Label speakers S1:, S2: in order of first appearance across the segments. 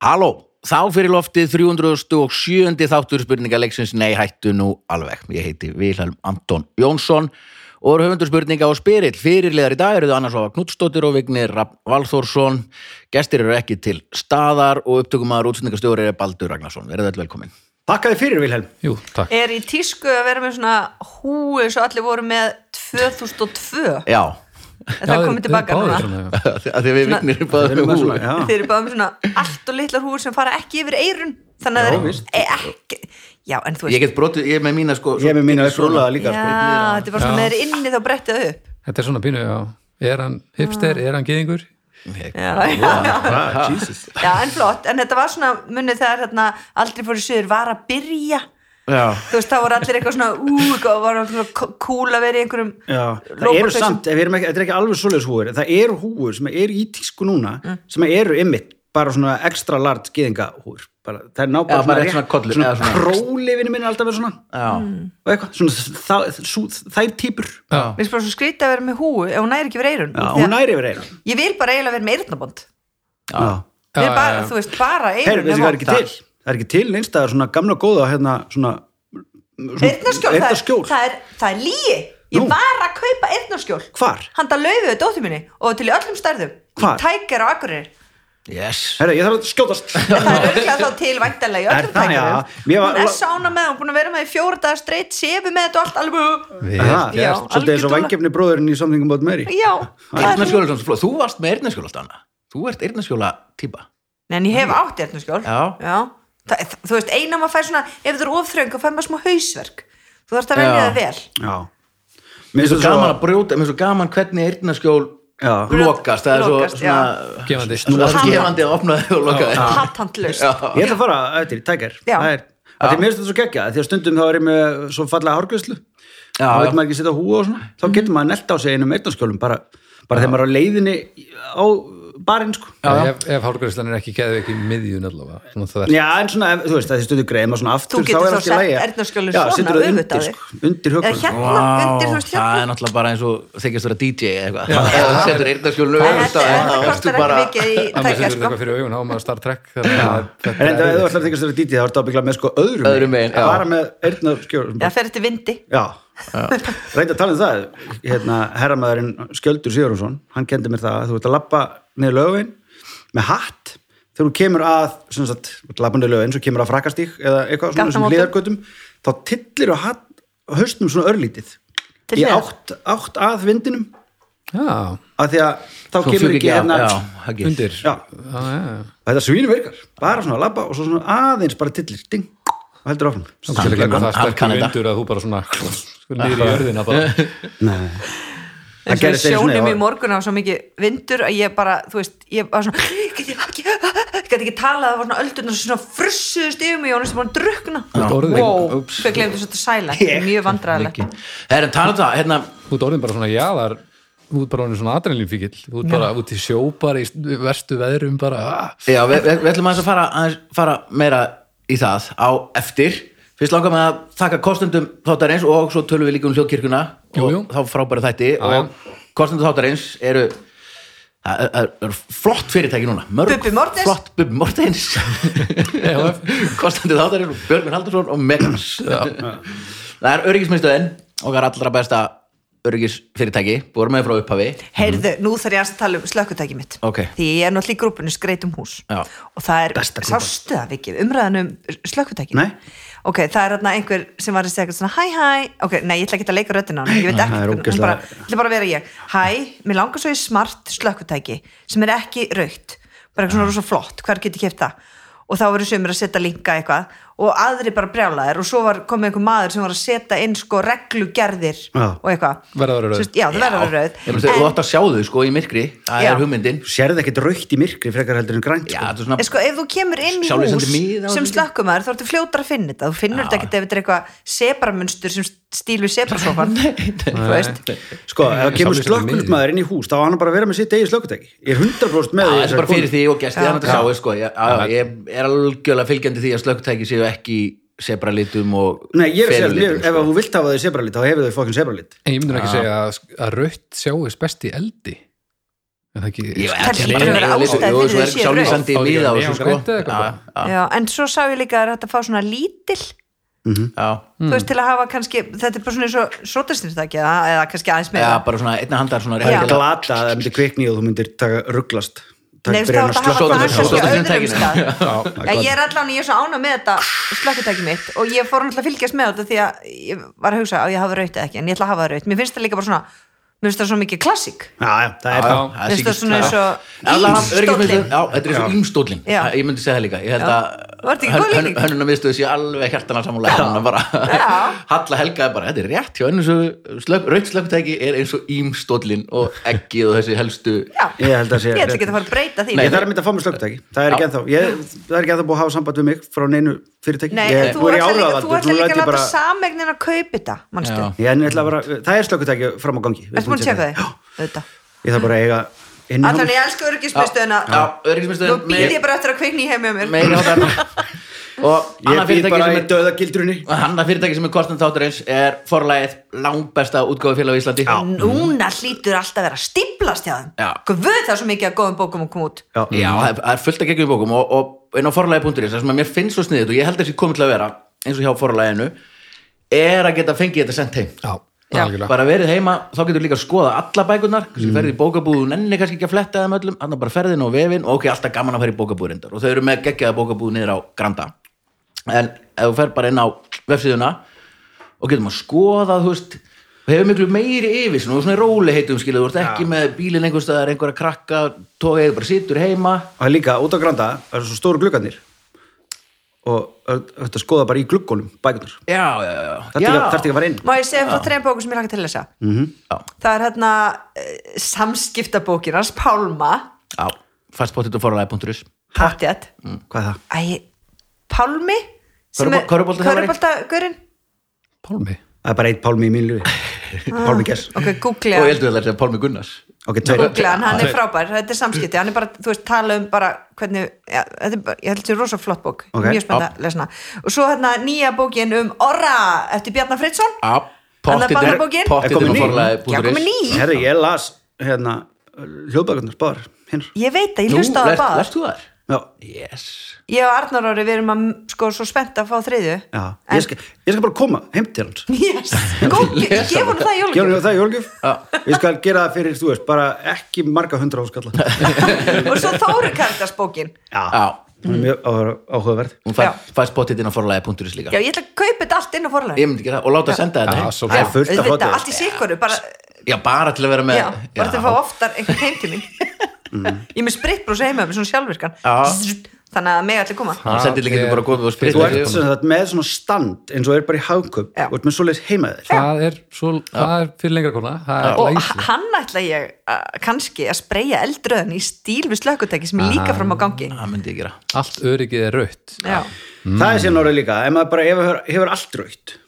S1: Halló, þá fyrir loftið 307. þáttur spurningaleiksins Nei, hættu nú alveg. Ég heiti Vilhelm Anton Jónsson og er höfundur spurninga og spyrill. Fyrirliðar í dag eru þau annars ofa Knutstóttir og Vignir Rafn Valþórsson. Gestir eru ekki til staðar og upptökumæður útsendingastjóri er Baldur Ragnarsson. Verið öll velkomin.
S2: Takk að þið fyrir, Vilhelm.
S3: Jú, takk.
S4: er í tísku að vera með svona húi eins og allir voru með 2002
S1: Já,
S4: en það komið tilbaka núna
S3: núna.
S1: af því að við Vignir erum
S2: Við
S1: báðum með
S2: erum með
S1: húi.
S2: svona, já.
S4: þeir eru bara með svona allt og litlar húi sem fara ekki yfir eirun þannig
S2: Já,
S4: að
S2: víst.
S4: það er ekki já en þú
S1: Ég
S4: veist
S1: get brotið, ég er með mína sko.
S2: Ég er með mína
S1: svona-
S2: upprólaða líka,
S4: já
S2: sko.
S4: þetta er bara svona
S3: Já.
S4: með þeir eru inni þá brettið það upp
S3: Þetta er svona pínu, já. Er hann hipster, er hann gýðingur?
S4: já, já.
S2: Ah, Jesus.
S4: já en flott en þetta var svona munið þegar hérna, aldrei fóru sögur var að byrja
S1: Já.
S4: þú veist þá voru allir eitthvað svona ú eitthvað og var svona cool að vera í einhverjum
S2: Já, það eru
S4: lópapeysum.
S2: samt, ef við erum ekki, þetta er ekki alveg svoleiðis húur, það eru húur sem eru í tísku núna,
S4: Mm.
S2: sem eru ymmit, bara svona extra large geðinga húur, bara, það er ná
S1: Já,
S2: bara
S1: bara
S2: rétt-
S1: svona kollur,
S2: svona,
S1: eða svona-
S2: królifinu minn er alltaf verið svona,
S1: Já.
S2: og eitthvað, svona það, sú, þær típur,
S3: Já.
S4: Mér finnst bara svo skrítið að vera með húu ef hún næri ekki yfir eirun
S2: já, hún næri yfir einu.
S4: Ég vil bara eiginlega vera með eyrnabond
S2: Já,
S4: Við
S3: Já,
S4: erum bara,
S3: já, já.
S4: þú veist, bara um
S2: Heyrðu,
S4: eyrun
S2: þessi var ekki til, það er ekki til neins, það er svona gamla góða, hérna, svona,
S4: Eyrnaskjól, það, er-
S2: Eyrnaskjól.
S4: það er, það er líi Ég
S2: Nú.
S4: var að kaupa eyrnaskjól
S2: hvar?
S4: Handa laufuðu dóttir minni og til í öllum stærðum
S2: Hvar?
S4: Tækir og akkurir
S1: Yes.
S2: Herra, ég þarf að skjótast.
S4: Það er örgulega þá til væntanlega í
S2: Er
S4: öllum
S2: það, já? Mér
S4: tækjum
S2: var-
S4: Hún er sána með, hún er búin að vera með í fjóra dagar streitt Sefi með þetta og allt alveg
S2: Aha,
S4: Já,
S2: Svolítið eins og
S4: algjörlega.
S2: vangefni bróðurinn í samningum bótt meiri.
S4: Já, það er
S1: Eyrnaskjóla er svona svo flott. Þú varst með eyrnaskjóla, Stanna. Þú ert eyrnaskjóla típa.
S4: Nei, en ég hef átt eyrnaskjól
S1: Já.
S4: Það, Þú veist, eina maður fær svona Ef þú er ofþröng og fær maður smá hausverk Þú þarfst að velja
S1: Já.
S4: það vel
S2: Já. Mér
S1: Mér er
S2: finnst
S1: svo gaman að brjóta, mér er svo gaman hvernig eyrnaskjól
S2: Já.
S1: lokast, það er svo
S4: Lokast, já.
S1: svona
S3: Gefandi.
S1: svona
S4: Hamra.
S1: skefandi að opna þau og loka
S3: Já.
S1: þau.
S4: Hatthandlaust
S1: Já.
S2: Ég ætla að fara eftir, tækir
S4: Já.
S2: Það er, að því mér finnst þetta svo geggja Því að stundum þá er ég með svo fallega hárgjöðslu
S1: Já,
S2: Þá
S1: já.
S2: veit maður ekki setja húa og svona Þá
S4: Mhm.
S2: getur maður nelt á sig einum eittanskjólum Bara, bara þegar maður er á leiðinni á barinn sko
S3: Já, ef, ef hárgræslan er ekki geðveik í miðjun allavega svona það er,
S2: Já, en svona, ef- þú veist, að því stundum greið maður svona aftur
S4: getur
S2: þá er
S4: þá
S2: allt í
S4: sett
S2: lagi.
S4: eyrnaskjólinn
S2: Já,
S4: svona
S2: setur
S4: öfugt
S2: það
S4: á þig.
S2: undir, sko, undir
S4: Eða
S2: hökunum
S4: hérna undir, þú veist,
S1: það
S4: hérna
S1: er náttúrulega bara eins og þykist vera DJ eða eitthvað. Ef þú setur eyrnaskjólinu
S4: Þetta
S1: auðvitað,
S4: þetta
S1: þá ertu
S4: kostar
S1: bara...
S4: ekki mikið í
S3: að maður
S4: tækja
S3: setur
S4: sko
S3: eitthvað fyrir augun á maður Star Trek þannig að þetta
S2: En ef
S3: er
S2: þú ætlar að þykast þér að dítið þá ertu ábyggla með sko öðrum
S1: Öðrum megin, já.
S2: Bara með eyrnaskjólum
S4: Það fer eftir vindi
S2: Já, reyndi að tala um það hérna, herramæðurinn Skjöldur Sigurðsson hann kendi mér það að þú ert að lappa niður lögin með hatt þegar þú kemur að, sem sagt, þú ert að lappa niður lögin svo kemur að frakkastík eða eitthvað svona sem
S4: Gatnamótum.
S2: hliðargötum, þá tillir og hatt höstum svona örlítið
S4: Til
S2: í
S4: hliðar.
S2: átt, átt að vindinum
S3: já,
S2: af því að þá
S1: Svo
S2: kemur
S1: fjúk
S2: ekki
S1: ekki á,
S2: hérna
S1: já,
S2: og
S1: ekki.
S3: undir
S2: Já.
S3: já, já.
S2: þetta svínu virkar, bara svona að lappa og svo svona aðeins bara tillir, ding og heldur áfram
S3: Þú getur ekki
S1: Hann-
S3: það
S1: hann kann
S3: sterkur
S1: þetta.
S3: vindur að þú bara svona nýri í örðina bara
S2: Það
S4: En svo
S2: gerðist einu sinni,
S4: sjónum
S2: já.
S4: í morgun á svo mikið vindur að ég bara, þú veist, ég var svona Gæti ekki, gæti ekki talað það var svona öldurnar sem svona frussuðust yfir mig og næstum búin að drukna
S3: Þú ert orðin-
S4: Wow,
S1: Ups.
S4: þau glemdu svo þetta sæla Mjög vandræðilegt
S1: Það er en tala um það, hérna,
S3: þú ert orðin bara svona jáðar þú ert bara orðin svona adrenalinfíkil þú ert bara út í sjó bara í verstu veðrum bara ah,
S1: Já, við, við, við ætlum aðeins að fara, aðeins, fara meira í það á eftir. Fyrst langar með að þakka kostendum þáttarins og svo tölum við líka um hljóðkirkuna
S3: Jú, jú.
S1: og þá frábæra þætti
S3: Já, já.
S1: og kostendum þáttarins eru það er- það er flott fyrirtæki núna Mörg,
S4: Bubbi Morthens.
S1: flott Bubbi Mortens kostendum þáttarins og Björgvin Haldursson og Megas það er öryggismiðstöðin okkar allra besta öryggisfyrirtæki búið með frá upphafi
S2: Mhm.
S4: Heyrðu, nú þarf ég aðeins að tala um slökkutæki mitt
S1: Ok.
S4: Því ég er náttúrulega í grúpunni skreit um hús
S1: Já.
S4: Og það er,
S2: Besta grúpan.
S4: sástu það vikið, umræðan um slökkutæki
S2: Nei.
S4: Ok, það er hérna einhver sem var að segja eitthvað svona hæ hæ Ok, nei, ég ætla ekki að leika röddina á hann Ég veit
S2: Nei,
S4: ekki,
S2: það er
S4: hún
S2: ógeðslega-
S4: bara, ég ætla bara að vera ég Hæ, mér langar svo í smart slökkutæki sem er ekki raukt Bara eitthvað svona rosa flott, hver getur kæft það? Og þá verður sömur að setja linka eitthvað og aðri bara brjálaðir og svo var komið einhver maður sem var að setja inn sko reglugerðir
S2: Já.
S4: og eitthvað.
S3: Verða að vera rauð.
S4: Sem sagt, Já, það verður að vera rauð.
S1: Ég meina, þú
S4: En-
S1: átt að sjá þau sko í myrkri það
S4: Já.
S1: er hugmyndin
S2: Þú sérð ekkert raukt í myrkri frekar heldur en grænt
S1: Já,
S2: sko.
S1: þetta er svona
S4: En sko, ef þú kemur inn í
S1: Sjálfvísandi
S4: hús
S1: mið á
S4: sem
S1: þetta.
S4: slökkumæður, þá ertu fljótar að finna þetta þú finnur þetta ekkert ef þetta er eitthvað sebramunstur sem stíl við sebrasofan þú veist,
S2: Sko, ef það kemur
S3: Samvistum
S2: slökkulmaður inn í hús þá á hann bara að vera með sitt eigi slökkutæki Ég er 100%
S1: Já,
S2: með því
S1: þetta er bara fyrir því og gesti þannig að sjáu sko, ég, á,
S3: Já.
S1: ég er algjörlega fylgjandi því að slökkutæki séu ekki sebralitum og sko.
S2: Nei, ég er að segja, mér-
S1: felulitum,
S2: ef að þú vilt hafa þau sebralit þá hefur þau fokkin sebralit
S3: en ég myndur ekki segja að, að rautt sjáist best í eldi Er það ekki,
S1: Ég-
S4: Það hlýtur
S1: bara-
S4: að vera
S1: Jú,
S4: ástæða
S1: jú,
S4: fyrir
S1: svo
S4: því
S1: er
S4: að séu
S1: sjálflýsandi
S3: rauð.
S1: mið á þessu,
S3: Já, grænt eða
S1: sko.
S3: eitthvað
S1: Já, já,
S4: Já, en svo sá ég líka að þetta fá svona lítil
S1: já.
S4: þú
S2: Hmm.
S4: veist til að hafa kannski, þetta er bara svona eins og sótastyrtaki eða, eða kannski aðeins meira
S1: Já, bara svona einna handar svona
S4: Já.
S2: Það er
S1: réttilega.
S2: glata að það myndir kvikni og þú myndir taka rugglast
S4: Nei, þá er þetta að hafa
S1: slökkva þessu.
S4: það kannski á
S1: Slökkva
S4: öðrum
S1: þessu.
S4: stað Já,
S2: Já, gott.
S4: ég er allan, ég er svo ána með þetta slökkutæki mitt og ég fór náttúrulega að fylgjast með þetta því að ég var að hugsa að ég hafa raut eða ekki en ég ætla að hafa raut, mér finnst það líka bara svona mér finnst það svo mikið klassik
S2: Já, já, það
S3: Já,
S2: er það
S1: Það er
S4: Finnst það
S1: síkilt-
S4: svona eins og
S1: Já. Alla hann-
S4: ímstóllinn.
S1: öryggismiðstöð- Já, þetta er eins og ímstóllin
S4: Já.
S1: Ég myndi segja það líka Ég held
S4: Já.
S1: að
S4: Var þetta ekki góð lýsing?
S1: hönnuna miðstöðu sé alveg hjartana samúlega hann bara
S4: Já.
S1: Halla Helga er bara, þetta er rétt hjá einu slökk, raut slökkutæki er eins og ímstóllin og eggið og þessi helstu
S4: Já,
S2: Ég held að sé
S4: ég ætla
S2: rétt.
S4: ekki að fara að breyta því
S2: Ég þarf að mynda að fá mér slökkutæki Það er ekki ennþá ég, Það er ekki ennþá búið að hafa samband við mig frá neinu fyrirtæki
S4: Nei,
S2: ég,
S4: en þú
S2: er ég
S4: ætla líka,
S2: áráðavaldur,
S4: þú ætla
S2: nú læt
S4: líka
S2: ég
S4: að láta
S2: bara-
S4: samegnin að kaupa þetta mannstu,
S3: Já.
S2: Ég en ég ætla bara Það er slökkutæki fram á gangi Við
S4: ertu búin að
S2: erum
S4: tjekka
S2: búin að
S4: því? Auðvitað.
S2: því Ég þarf bara að eiga inn í
S4: Allan
S2: hana.
S4: ég elsku örgismistöðuna
S1: Já, öryggismiðstöðin
S4: Nú býð ég bara eftir að kveikni í heim hjá mér
S1: meira á þarna og
S2: Ég
S1: annað
S2: býð
S1: fyrirtæki
S2: bara
S1: sem
S2: í
S1: er
S2: döða gildrunni
S1: annað fyrirtæki sem er kostum þáttur eins er forlægið langbesta útgáfufélag á Íslandi
S2: Já.
S4: Núna hlýtur alltaf að vera að stíplast hjá þeim
S1: Já.
S4: Guð það er svo mikið að góðum bókum að koma út
S1: Já, það er- það er fullt að geggjum bókum og, og inn á forlægi.is, það sem að mér finnst svo sniðið og ég held þessi komið til að vera, eins og hjá forlæginu er að geta fengið þetta sent heim
S3: Já,
S4: Já.
S3: algjörlega
S1: bara verið heima, þá getur líka að skoða alla bækurnar, kannski ferðið í bókabúðu nenni kannski ekki að fletta þeim öllum, þannig bara ferðin og vefin og ok, alltaf gaman að ferði í bókabúðu reyndar og þau eru með geggjaða bókabúðu niður á Granda en ef þú fer bara inn á vefsíðuna og getum að skoða þú veist, þú hefur miklu meiri yfir og svona róli heitum skilja, þú ert ekki með bílinn einhvers staðar, einhverja krakka tóið, bara situr heima
S2: Og það er líka út á granda Það eru svo stóru gluggarnir Og þetta skoða bara í gluggunum Bækunar
S1: já, já, já,
S2: Það
S1: já.
S2: er ekki að fara inn
S4: Má ég segja um frá þreim bókum sem ég laka til þessa mm -hmm.
S1: Já.
S4: Það er hérna uh, samskiptabókin hans Pálma
S1: já, fastbóttið og forlæði.is
S4: Pottjætt
S2: Hvað er það?
S4: Æ, Pálmi
S1: Körfubo- körfuboltaþjálfari?
S4: Köruboltagurinn
S3: Pálmi
S2: Það er bara eitt pálmi í mínu lífi Pálmi Gess
S4: Ok,
S1: og
S4: googla
S1: ég
S4: hann
S1: heldur þetta er Pálmi Gunnars
S2: Ok, tveir
S4: Googla hann, hann er
S2: Tveir.
S4: frábær, þetta er samskipti hann er bara, þú veist, tala um bara hvernig ja, þetta er bara, ég held þetta er rosa flott bók
S2: Ok.
S4: mjög spennt að lesa hana og svo hérna nýja bókin um Orra eftir Bjarnar Fritsson
S1: já,
S4: Þannig að
S1: pottið
S4: barnabókin?
S2: Er komin
S1: og
S2: ný?
S4: Já, komin
S1: forlæði.is
S4: ný,
S2: Herri, ég las hérna hljóðbækunar, báðar, hinn
S4: ég veit að ég hlusta á það bara
S1: lest þú þar?
S2: Já,
S1: yes
S4: Ég og Arnar Ári, við erum að sko svo spennt að fá þriðju
S2: já, ég skal, ég skal bara koma heim til hans
S4: Yes, góð, ég
S1: Lesa
S4: gef hún það í
S2: Gjörðu
S4: jólugjöf
S2: það Jólgjöf? Ég skal gera það fyrir, þú veist, bara ekki marga hundra áskalla
S4: Og svo Þóri Karitas bókin
S2: Já,
S1: já,
S2: hún er mjög áhuga- áhugaverð
S1: hún
S4: Já.
S1: fæst pottið inn á forlæði.is líka
S4: Já, ég ætla að kaupa þetta allt inn á
S1: ég
S4: forlæðin
S1: myndi gera það og láta að senda
S2: Ah,
S1: þetta
S3: Já,
S1: heim.
S3: svo
S2: Það er
S3: flott.
S2: fullt af flottu.
S4: Þetta allt í sikkoru, bara
S1: já, bara til að vera með
S4: Já, bara til að fá oftar einhvern heim til mín Ég er með spritbrús heima með svona sjálfvirkan
S1: Já.
S4: Zzzt, Þannig að mig allir koma
S1: hann sendir líka
S3: Það
S1: þetta
S3: er-
S1: bara góð og
S2: Þú
S1: spritta
S2: ert sem sagt með svona stand eins og er bara í hagköp
S4: Já.
S2: og ert með svoleiðis heima þér
S3: Það er svo, það er fyrir lengra kona Það er
S4: Og
S3: læsi
S4: hann ætla ég að, kannski að spreja eldröðin í stíl við slökkutæki sem er líka fram á gangi
S1: það myndi ég gera
S3: Allt öryggið er rautt
S4: Já,
S2: Það er síðan orðið líka, ef maður bara hefur, hefur allt raut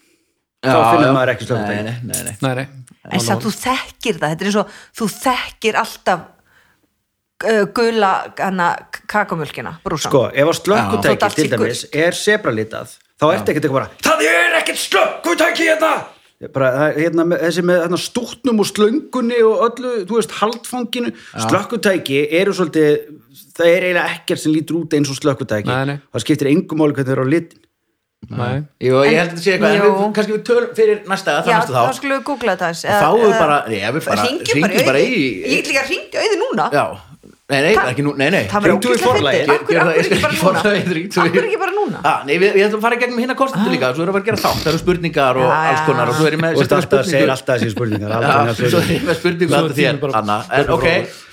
S2: Þá
S1: Já,
S2: finnur
S1: já.
S2: maður ekki slökkutæki.
S1: Nei, nei, nei, nei.
S3: Nei, nei
S4: en samt þú þekkir það þetta er eins og þú þekkir alltaf uh, gula hana kakamjölkina, brúsan
S2: Sko, ef að
S4: Já. Þótt
S2: slökkutæki
S4: allt
S2: til
S4: sé
S2: dæmis er sebralitað þá ertu ekkert eitthvað bara Það er ekkert slökkutæki hérna bara, það er hérna, með- þessi með hérna, stútnum og slöngunni og öllu, þú veist, haldfanginu slökkutæki eru svolítið það er eiginlega ekkert sem lítur út eins og slökkutæki
S3: Nei, nei.
S2: það skiptir engum máli hvernig þau eru á litin
S3: Nei,
S1: Jú, ég
S4: En-
S1: held að þetta sé eitthvað en
S4: Jú.
S1: við, kannski við tölum fyrir næsta það
S4: Já,
S1: næsta
S4: þá
S1: þá
S4: skulum við googla þetta aðeins eða-
S1: Fáum við
S4: eða-
S1: bara- Nei, við bara-
S4: Hringjum
S1: hringjum bara
S4: bara
S1: í-
S4: í Ég get líka hringt í auði núna
S1: Já, nei, nei,
S4: Það-
S1: ekki nú, nei, nei
S4: Það verður
S2: Hringdu í
S4: ógeðslega
S2: Forlagið.
S4: fyndið. Af hverju-
S1: Gerðu
S4: af
S1: það,
S4: hverju
S1: ég skal ekki
S4: ekki bara núna?
S1: fara- ég-
S4: Af hverju ekki bara núna?
S1: Ah, nei, við, við ætlum að fara í gegnum hérna kostendur líka og svo erum við að gera þátt, það eru spurningar og
S4: Ah. Já, já,
S1: alls konar og svo erum við
S2: og
S1: með
S2: þetta
S1: sérstaklega
S2: alltaf segir
S1: spurningu Já,
S2: alltaf þessi spurningar aldrei
S1: svo
S2: nefnir
S1: erum við með spurningu
S3: Svo
S1: alltaf þér,
S3: tíminn bara-
S1: Anna en
S3: bara
S1: ok,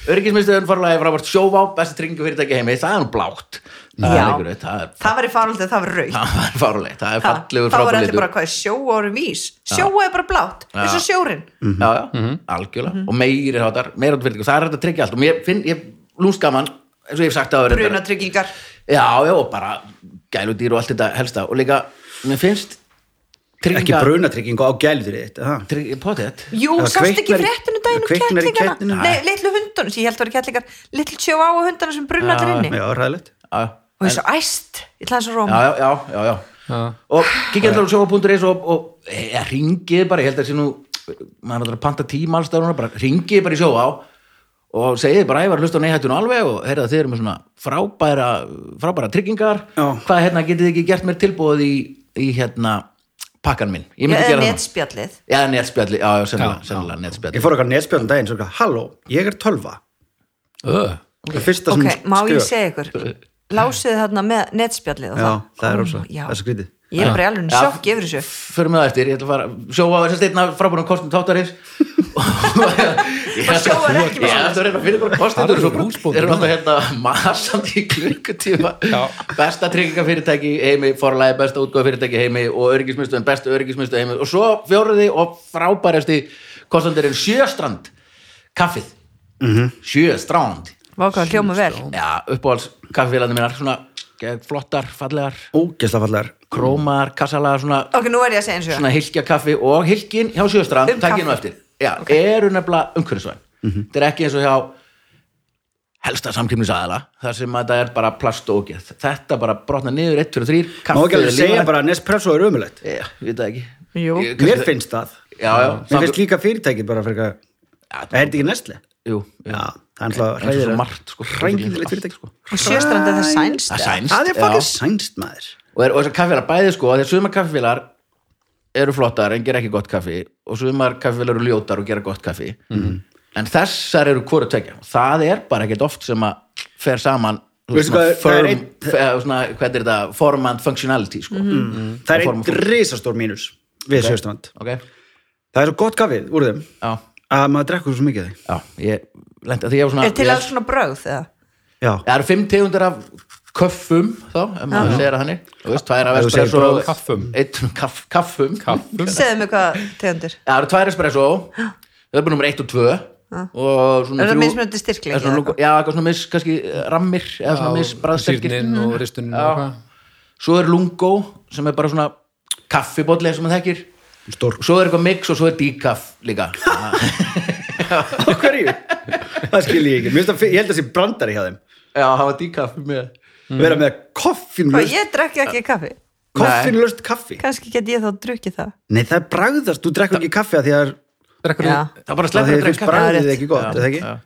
S1: öryggismiðstöðun farlega frábært sjóvá, besta tryggingafyrirtæki heimi það er nú blátt, það er
S4: Já.
S1: ykkur veit, það er
S4: Það var í faraldið, það var rauð
S1: það er farulegt, það er fallegur
S4: Það var
S1: frábært
S4: allir
S1: litur
S4: bara hvað, er sjó árum vís Sjóa er bara blátt, eins og sjórin
S1: já, já, algjörlega
S4: Mhm.
S1: og meiri hátar, meira hátar fyrirtæki og það er hægt að tryggja allt og mér finn, ég lúnst gaman eins og ég hef sagt það
S4: Brunatryggingar
S1: Já, já, og bara gæludýr og allt þetta helsta og líka, mér finnst
S2: ekki brunatryggingu á gælutur þitt aha.
S1: trygg, potið
S4: Jú,
S2: Það
S4: sást ekki
S2: kviknar í-
S4: fréttunum daginn um
S2: kviknar í kettinum.
S4: kettlingarna Nei, litlu hundunum, sem ég held að vera kettlingar Litlu tjóa á hundana sem brunallir inni
S2: já, ræðilegt
S1: já,
S4: og ég er svo æst ég ætla þess að róma
S1: Ah, já, já, já, já, já.
S3: Já.
S1: og kikjandur á sjóa.is og, og e, ringið bara, ég held að sé nú maður er að panta tíma alls staðar núna, bara ringið bara í sjóa á og segið bara ævar hlusta á neihættinu alveg og heyrða þið eru með svona frábæra, frábæra tryggingar
S2: Já.
S1: hvað hérna getið þið ekki gert mér tilbúið í, í hérna pakkan minn ég myndi
S4: eða
S1: gera það
S4: netspjallið
S1: Já, netspjalli, já, já, sennilega, sennilega
S2: Ég
S1: netspjalli
S2: fór okkar netspjörnum um daginn, svo ekki, halló, ég er tölva.
S3: Ö,
S2: Það er fyrsta sem
S4: ok, má ég
S2: skrifa.
S4: segja ykkur lásuðu þarna með netspjallið og
S2: Já,
S4: það,
S2: það er
S4: Ó,
S2: rosa,
S4: já.
S2: það er svo grítið.
S4: ég er bara í alveg
S1: Já.
S4: sjokk yfir þessu
S1: Förum við það eftir, ég ætla að fara sjóa á þess að steinna frábærum kostum tátarins Og
S4: sjóar ekki með
S1: Ég ætla að reyna að finna bara kostendur
S3: Þar eru
S1: Svo bara-
S3: húsbóndar.
S1: erum alltaf hérna masandi í klukkutíma
S3: Já.
S1: Besta tryggingafyrirtæki í heimi Forlæði besta útgóðafyrirtæki heimi Og öryggismistuðin, besta öryggismistuð heimi Og svo fjóruði og frábærasti kostendurinn Sjöstrand Kaffið
S3: Mhm.
S1: -hmm. Sjöstrand
S4: vákvæða hljóma vel
S1: Já, uppáhalds kaffifélagni mínar Svona eh, flottar, fallegar
S2: Ógesla fallegar.
S1: krómar, kassalagar, svona
S4: ok, nú verð ég að segja eins og
S1: svona hilkjakaffi og hilkin hjá Sjöstrand,
S4: Um
S1: takk ég nú
S4: kaffi.
S1: eftir já, eru nefnilega umhverfisvæn
S2: Mhm.
S1: þetta er ekki eins og hjá helsta samkýmnisaðala, þar sem að þetta er bara plast og ógeð, þetta bara brotna niður 1, 2, 3,
S2: Má
S1: kaffi
S2: ekki alveg
S1: er
S2: segja
S1: lífrænt.
S2: bara að Nespresso er ömulegt.
S1: já, ég veit það ekki
S4: Jú.
S1: Ég- kannski-
S2: Mér finnst það.
S1: já, já,
S2: Mér finnst líka fyrirtækið bara fyrir eitthvað.
S1: Já,
S2: Er þetta ekki Nestle?
S1: jú, jú.
S2: Já, það er
S1: eins
S2: alltaf
S1: og svo
S2: hræðir.
S1: margt, sko,
S2: Hræðilegt fyrirtæki, sko.
S4: og sjöstrand er það sænst
S1: það
S4: eða?
S1: sænst
S2: Það er
S1: já.
S2: fucking sænst, maður.
S1: og, er, og þessar kaffélag bæði sko, þegar sumar kaffélag eru flottar en gera ekki gott kaffi og sumar kaffélag eru ljótar og gera gott kaffi
S2: Mhm.
S1: en þessar eru hvora tvekja það er bara ekkert oft sem að fer saman þú
S2: Veistu
S1: svona
S2: hvað er- það
S1: firm,
S2: er einn-
S1: f- eða svona, hvað er þetta, form and functionality sko.
S4: Mhm.
S2: Það er
S1: Og form
S2: einn
S1: og form.
S2: risastór mínus við okay. sjöstrand.
S1: ok,
S2: Það er svo gott kaffið úr þeim
S1: já,
S2: að maður drekkur svo mikið af því.
S1: já ég, lent, því ég var svona,
S4: er til
S1: ég-
S4: alls svona brögð eða?
S2: Já.
S1: það eru fimm tegundir af köffum þá, ef maður segir það þannig þú veist, tvær af
S2: Ef þú segir
S1: espresso
S3: bara kaffum.
S1: einn- kaff, kaffum
S3: kaffum
S4: segðu mig hvað tegundir
S1: Já, það eru tvær espresso Það er bara nummer 1 og 2 og svona
S4: Er það
S1: þrjú-
S4: mismunandi styrkleiki
S1: er svona
S4: eða
S1: lúku- Já, eitthvað svona mis, kannski eh, rammir eða svona mis, bræðsterkir
S3: Sýrnin og ristunin og hvað
S1: Svo er lungo sem er bara svona kaffibóllið sem maður þekkir
S2: Stór.
S1: Svo er eitthvað mix og svo er decaf líka
S2: Á hverju? það skil ég ekki. Mér finnst það fi- Ég held að það sé brandari hjá þeim.
S1: Já, hafa decaf með
S2: Vera með
S4: Hvað,
S2: koffinlust,
S4: ég drekki ekki kaffi
S2: koffinlust kaffi.
S4: kannski get ég þá drukkið það
S2: Nei, það er bragðast. Þú drekkur ekki kaffi að því að það er-
S3: Drekkur
S4: Já.
S3: þú
S1: Það er bara
S2: af
S1: sleppur
S2: því
S1: að
S2: að finnst
S1: drekka
S4: Já,
S2: bragðið
S4: rétt.
S2: ekki gott, er það ekki?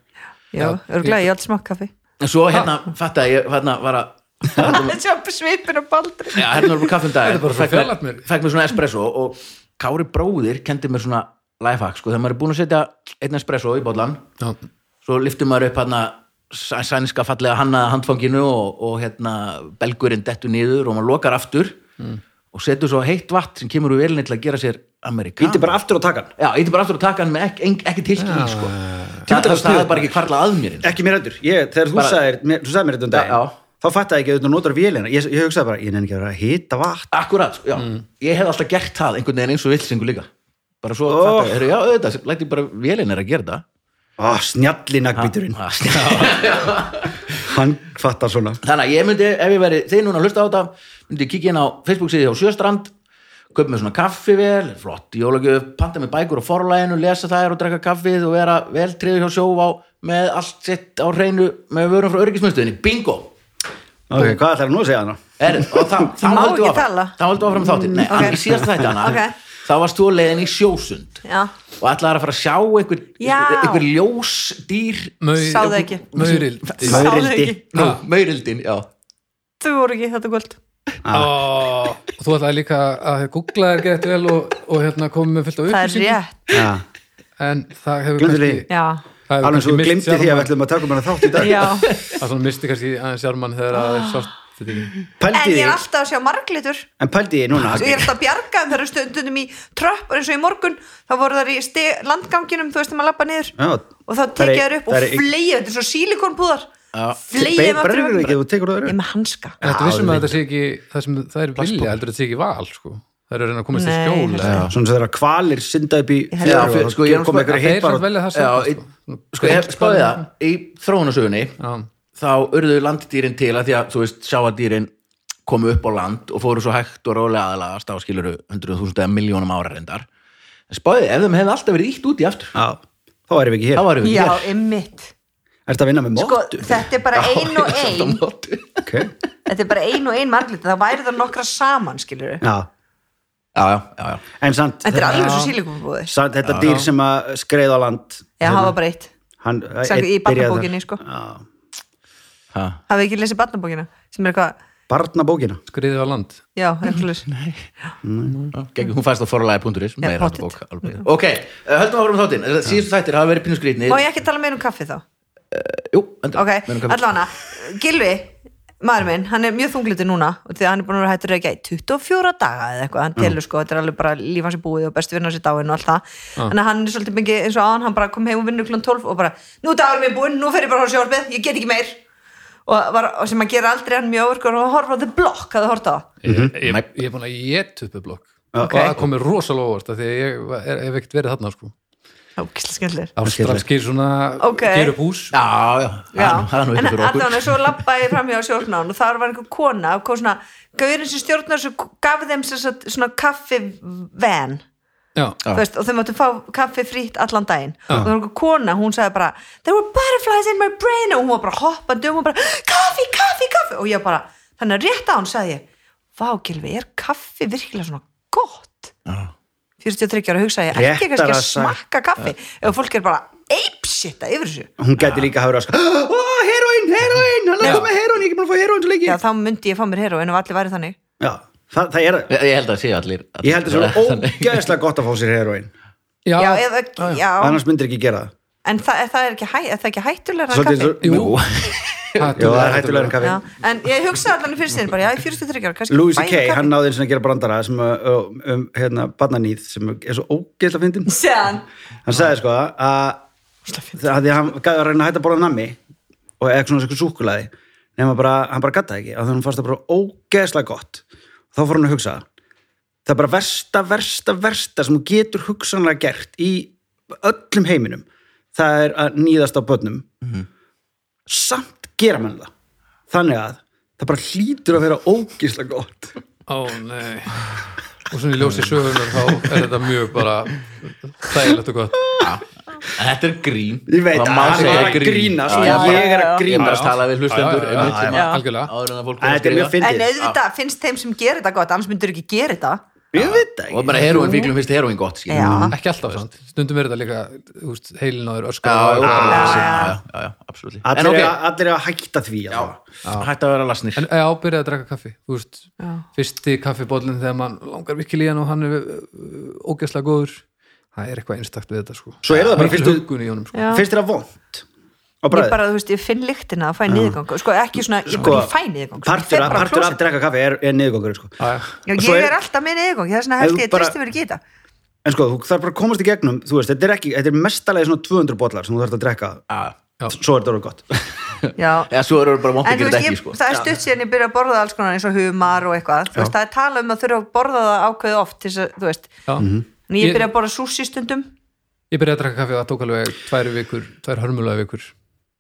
S4: já, örgulega, ég er alls smakk kaffi
S1: En Svo hérna, fatta ég, hérna var að
S4: sjá svipin og baldri
S1: Já, hérna var bara kaffum dag
S3: Þetta er bara svo fjarlægt mér.
S1: Fæk mér svona espresso og Kári bróðir kendi mér svona lifehack sko, þegar maður er búin að setja einn espresso í bollan
S3: Já.
S1: svo lyftum maður upp hérna sæ- sænska fallega hannaða handfanginu og, og hérna belgurinn dettu niður og maður lokar aftur
S3: Mm.
S1: og setur svo heitt vatn sem kemur úr velinni til að gera sér amerikan
S2: Íti bara aftur á takan.
S1: Já, ítti bara aftur að taka hann með ekki, ekki, ekki tilkynning sko. það,
S2: Þetta var
S1: það, það
S2: sniðugt.
S1: er bara ekki kvarla að mér
S2: Ekki mér endur. Ég, þegar þú
S1: Bara-
S2: sagðir, mér- þú sagðir mér þetta um
S1: Já, já.
S2: daginn, þá fattaði ég ekki að þú notar vélina. Ég, ég hugsaði bara, ég nefnir ekki að vera að hita vatn.
S1: Akkurat, já, ég hef alltaf gert það einhvern veginn eins og vilsingu líka bara svo,
S2: Oh.
S1: oh. fattar, já, auðvitað, læti bara vélinn er að gera það Ah,
S2: Ó, snjalli nagbíturinn.
S1: Ha, snjá.
S2: Hann fattar svona.
S1: Þannig að ég myndi, ef ég veri þið núna að hlusta á þetta, myndi ég kíkja inn á Facebook síði á Sjöstrand, köp með svona kaffivel, flott jólagjöf, panta með bækur á forlæginu, lesa þær og drekka kaffið og vera vel triður hjá sjóvá með allt sitt á hreinu með vörum frá örgismiðstöðinni. Bingo!
S2: Ok, hvað ætlar nú að segja hana?
S1: Er, og það, þá
S4: Má
S1: heldur
S4: ekki
S1: áfram,
S4: tala? Mm,
S1: þá heldur áfram þáttir. Nei,
S4: ok.
S1: okay. í síðast þætti hana,
S4: Ok.
S1: þá varst þú að leiðin í sjósund
S4: já,
S1: og ætlaðar að fara að sjá einhver,
S4: Já.
S1: einhver ljósdýr,
S3: Maur-
S4: Sá það ekki.
S3: Mauril
S4: Sá það
S2: Maurildi.
S4: ekki.
S1: nú, maurildin, já.
S4: þú voru ekki þetta kvöld
S3: Ó, og þú ætlaði líka að googla þér gett vel og, og hérna komið með fullt af
S4: það
S3: upplýsingum
S4: er rétt
S2: Já,
S3: en það hefur
S2: Gleymdu því.
S3: kannski
S4: já,
S3: það hefur
S2: alveg eins og
S3: kannski misst
S2: þú glimti því að
S3: sjarmann-
S2: við ætlum að taka um hana þátt í dag.
S4: já
S3: að svona misti kannski aðeins sjármann þegar að
S2: Ah.
S3: er sátt þetta ekki
S4: en
S2: Pældi
S4: ég
S2: því,
S4: er alltaf að sjá marglitur
S2: en pældi því núna.
S4: og ég er alltaf að bjarga en það eru stundunum í tröpp eins og í morgun, þá voru þar í ste- landganginum þú veist þegar maður lappa niður
S2: Já,
S4: og þá
S2: það er-
S4: tekið þær upp
S2: það
S4: og
S2: er-
S4: fleið þetta er svo sílikonpúðar
S1: Já.
S4: fleið
S2: Be-
S4: þeim aftur í
S2: bregður ekki,
S4: vagninn.
S2: þú tekur það
S4: ég
S2: öðru.
S4: er með hanska
S3: Þetta vissum
S2: það
S3: um að þetta sé ekki það sem það er vilja, heldur þetta sé ekki val sko. það eru að reyna að komast í
S4: Nei,
S3: skjól
S4: heldur
S3: eða-
S2: Svona sem þeirra kvalir synda upp í
S4: held
S1: Já,
S4: Já,
S2: fjöru
S1: fyrir-
S2: og
S1: sko, ég er
S2: þá kom
S1: náttúrulega-
S2: einhverja
S3: Þeir
S2: heipar
S3: samt velja það
S1: Já,
S3: sjálf
S1: í- sko, ég spáði það, í þróunasögunni
S3: Já.
S1: þá urðu landdýrin til að því að, þú veist, sjáadýrin komu upp á land og fóru svo hægt og rólega aðlagast á skiluru 100.000 eða miljónum ára reyndar en spáði, ef þeim hefði alltaf verið ítt út í aftur
S2: Já, þá erum við
S1: þá
S2: ekki hér.
S1: varum við
S4: já, ymmit
S2: Ertu að vinna með
S4: sko,
S2: móttu?
S4: þetta er bara ein og ein
S1: Já,
S2: Ok,
S4: þetta er bara ein og ein marglitur, það væri það nokkra saman skilur
S2: já.
S1: já, já, já
S2: En samt, hérna,
S4: þetta er
S2: þetta-
S4: alveg svo sílikonbúði
S2: samt þetta dýr sem að skreið á land,
S4: já, hafa bara eitt
S2: hann, eh,
S4: Sagði í
S2: einn Hérna. byrjaði
S4: barnabókinni,
S2: þar.
S4: sko.
S2: Já.
S1: Ha,
S4: hafið ekki lesið barnabókina sem er eitthvað,
S2: barnabókina
S3: skriðið á land
S4: já, einhverjus
S1: gegn, hún fæst á forlæði.is
S4: Já, pottet.
S1: ok, eh, höldum áfram þáttinn Eh, síðustu þættir hafa verið pínu skrýtni
S4: má ég ekki tala meir um kaffi þá
S1: jú, endur,
S4: ok, allavega Gilvi, maður minn, hann er mjög þungliti núna og því að hann er búin að vera hættur að reykja í 24 daga eða eitthvað,
S1: Mm.
S4: hann telur sko þetta er alveg bara líf hans er búið og bestu vinna hans er dáin og allt það
S1: Ah.
S4: þannig að hann er svolítið mikið eins og aðan hann bara kom heim og vinnur kl. 12 og bara nú er dagur minn búinn, nú fer ég bara á sjálfið, ég get ekki meir og var, og sem hann gera aldrei hann mjög örgur og horfa á The Block að það horta á
S3: ég,
S1: Mhm.
S3: ég, ég er búin að ég tuppu blokk og það komið rosalega óvart af því að ég var- er, hef ekkert verið þarna sko
S4: ógislega skemmtilegur
S3: ástrakskir svona
S4: Ok.
S3: okay. gerir bús
S1: já, já,
S4: Já,
S1: já, það er nú
S4: en
S1: eitthvað fyrir okkur
S4: allavega svo labbaði ég fram hjá sjórnán og þar var einhver kona og kom svona, gaurinn sem stjórnar svo gaf þeim sem sagt svona kaffi van
S3: já,
S1: Já.
S4: Þú veist, og þau máttu fá kaffi frýtt allan daginn og það var einhver kona, hún sagði bara there were butterflies in my brain og hún var bara hoppandi og hún bara, kaffi, kaffi, kaffi og ég bara, þannig að rétt á hún sagði ég vá, Gylfi, er kaffi virkilega svona gott?
S1: Já.
S4: 43 ára hugsaði ég, ekki kannski
S2: Réttara
S4: að
S2: sagt.
S4: smakka kaffi ef fólk er bara, eipsitta yfir þessu
S2: hún gæti líka að hafa verið að sko "Ó, heroin, heroin, hann er
S3: Já.
S2: að koma heroin ég er ekki búin að fá heroin svo lengi
S4: Já, þá myndi ég fá mér heroin og allir væri þannig
S2: Já, það, það er,
S1: ég ég held að séu allir, allir
S2: ég held að það er ógeðslega gott að fá sér heroin
S3: já,
S4: Já, eða, já,
S2: annars myndir ekki gera það
S4: en það, er- það er ekki, hæ, er það ekki hættulega að
S2: Svolítið
S4: kaffi
S2: eins og-
S3: Jú.
S2: Já, það er hættulega
S4: Já,
S2: en kaffi
S4: en ég hugsaði allan í fyrst sinni bara, já, í 43 ára, kannski
S2: Louis
S4: fæ ég
S2: C.K.
S4: kaffi.
S2: hann náði eins og að gera brandara sem uh, um hérna barnanýð sem er svo ógeðslega fyndin
S4: Síðan,
S2: hann sagði sko að það því að hann gæði að reyna að hætta að borða nammi og eitthvað svona eitthvað súkulaði nema bara, hann bara gattaði ekki og þannig fannst það bara ógeðslega gott og þá fór hann að hugsa það er bara versta, versta, versta sem hún getur hugsanlega gert í öllum heiminum það er að nýðast á börnum
S1: Mhm.
S2: samt gera menn það þannig að það bara hlýtur að vera ógeðslega gott
S3: Ó nei Og svona í ljósi sögunar þá er þetta mjög bara þægilegt og gott
S1: þetta er grín
S2: ég veit,
S1: Það má
S2: hann
S1: segja
S2: var að grínast
S1: Já, já,
S2: ég
S4: já, já.
S2: er að
S1: Ég er bara að
S2: grínast
S1: tala við hlustendur
S3: Já, já, já,
S1: einmitt,
S3: já,
S1: sem
S3: já.
S1: að-
S3: Algjörlega.
S1: áður en að fólk
S2: En
S1: er að
S2: þetta
S1: skrifa.
S2: er mjög fyndið Ah.
S4: en auðvitað finnst þeim sem gerir þetta gott, annars myndur ekki gera þetta
S2: ég veit það
S1: og
S2: ekki
S1: bara heroin fíklum finnst heroin gott skilur.
S4: Já,
S3: Ekki alltaf samt, stundum er þetta líka úst, heilin á þér öskar
S1: já, já,
S3: og-
S1: já,
S3: og-
S1: já, já, já, absolutt
S2: Allir,
S1: en ok,
S2: okay. allir er að hætta því já.
S1: hætti að vera lasnir
S3: En já, byrjaði að draka kaffi úst, Fyrsti kaffibóllin þegar mann langar virkilega í hann og hann er uh, ógeðslega góður Það er eitthvað einstakt við þetta sko
S2: Svo er það bara
S3: Mikil
S2: fyrstu-
S3: huggun í honum sko
S4: já.
S2: Finnst þér það vond? Og
S4: Ég
S2: bara, Ah.
S4: bara, þú veist, ég finn lyktina að fæ niðurgang sko, ekki svona, ég, bara, ég fæ niðurgang
S2: partur,
S4: ég, fer
S2: af,
S4: bara á
S2: partur af að
S4: klósett.
S2: drekka kaffi er, er niðurgangur sko.
S3: Já, já.
S4: já,
S2: svo
S4: ég
S2: er-
S4: er alltaf með niðurgang, það er svona
S2: Ef
S4: held
S2: þú
S4: ég að
S2: bara-
S4: tristi verið geta
S2: En sko, þú þarf bara að komast í gegnum þú veist, þetta er, ekki, þetta er mestalegi svona 200 bollar sem þú þarf að drekka
S3: Já.
S2: Svo er þetta orðið gott
S4: Já,
S1: eða svo eru bara vont
S4: En
S1: að gera
S4: þú veist,
S1: þetta
S4: ég,
S1: ekki sko.
S4: það er stutt síðan ég byrja að borða alls konar eins og humar og eitthvað, þú veist, það er tala um að þurfa að borða það ákveð oft, til þess að, þú veist
S3: Já.
S2: Mhm.
S4: en ég
S3: Ég-
S4: byrja að borða súsi stundum
S3: Ég byrjaði að draka kaffi og það tók alveg tvær vikur Tvær hörmulega vikur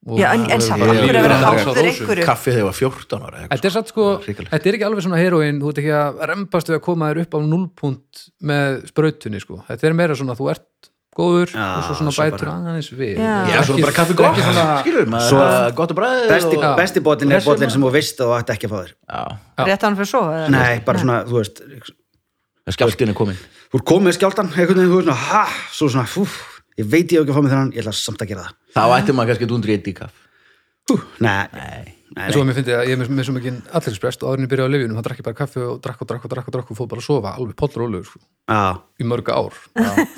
S3: Og-
S4: Já, en, en samt,
S3: Bara
S4: af hverju að
S3: lífið
S4: vera
S3: að
S1: háður
S3: dansa á
S4: háður
S3: rósum.
S4: einhverju
S1: kaffið þegar ég var 14 ára eitthvað.
S3: Þetta er satt sko,
S1: Hrikalegt.
S3: þetta er ekki alveg svona heroin, þú ert ekki að rempast við að koma þér upp á nullpunt með sprautunni sko, þetta er meira svona að þú ert góður
S2: Já,
S3: og svo svona
S2: svo
S3: bætur aðeins við
S4: Já.
S1: já, svo bara kaffið gott skilur, maður
S2: Svo-
S1: er gott að bræði
S2: Besti, besti bollin er
S1: Þessi
S2: bollin
S1: maður-
S2: sem þú veist að þú ætti ekki að fá þér
S1: já,
S4: rétt hann fyrir svo eða?
S2: Nei, bara svona, þú veist Þú
S1: skjálftinu komin
S2: er komið með skjáltan, einhvern veginn, þú veist svona ha, Svo svona, fú, ég veit ég á ekki að fá mig þennan Ég ætla samt að gera það
S1: þá
S3: Ah.
S1: ætti maður kannski að dundri eitt í kaff
S2: Hú, Nei, nei, nei,
S3: en svo að mér fyndi að ég er með- með svo mikið allriksprest og áður en ég byrjaði á lifjunum, þá drakk ég bara kaffi og drakk og drakk og drakk og drakk og fóð bara að sofa alveg pollur ólegur sko,
S2: Já.
S3: í mörg ár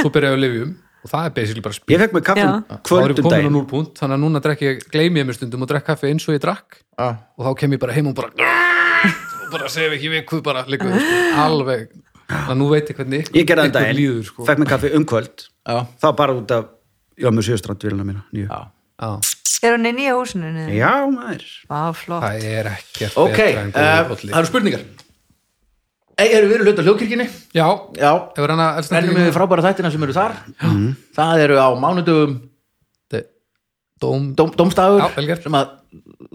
S3: svo byrjaði ég á lifjum og það er basically bara spil
S2: Ég fekk mig kaffin
S4: Já.
S3: þá er ég
S2: kvöldum
S3: komin á
S2: um daginn
S3: nullpunt, þannig að núna drekk ég gleymi ég mér stundum og drekk kaffi eins og ég drakk og þá kem ég bara heim og bara og bara sef ekki vikuð bara liggur, sko, alveg, þannig að nú veit ég hvernig ykkur-
S2: Ég
S3: ykkur
S2: gerði það en
S3: líður, sko.
S2: Fekk mig kaffi um kvöld
S1: já,
S2: Það var bara út af Já, með sjöstrandvílina mína nýju.
S1: já
S3: Já.
S4: er hún í nýja húsinu niður?
S2: Já, maður
S4: Vá, flott
S3: Það er ekkert
S1: ok,
S3: betra en
S1: eh,
S3: góður bolli.
S1: það eru spurningar Ei, eru við hlut á hljóðkirkjunni?
S3: Já,
S1: Já,
S3: hefur hann að
S1: rennum við frábæra þættina sem eru þar Mm. Það eru á mánudum
S3: Dóm
S1: dóm, Dómstafur
S3: Já, vel gert.
S1: sem að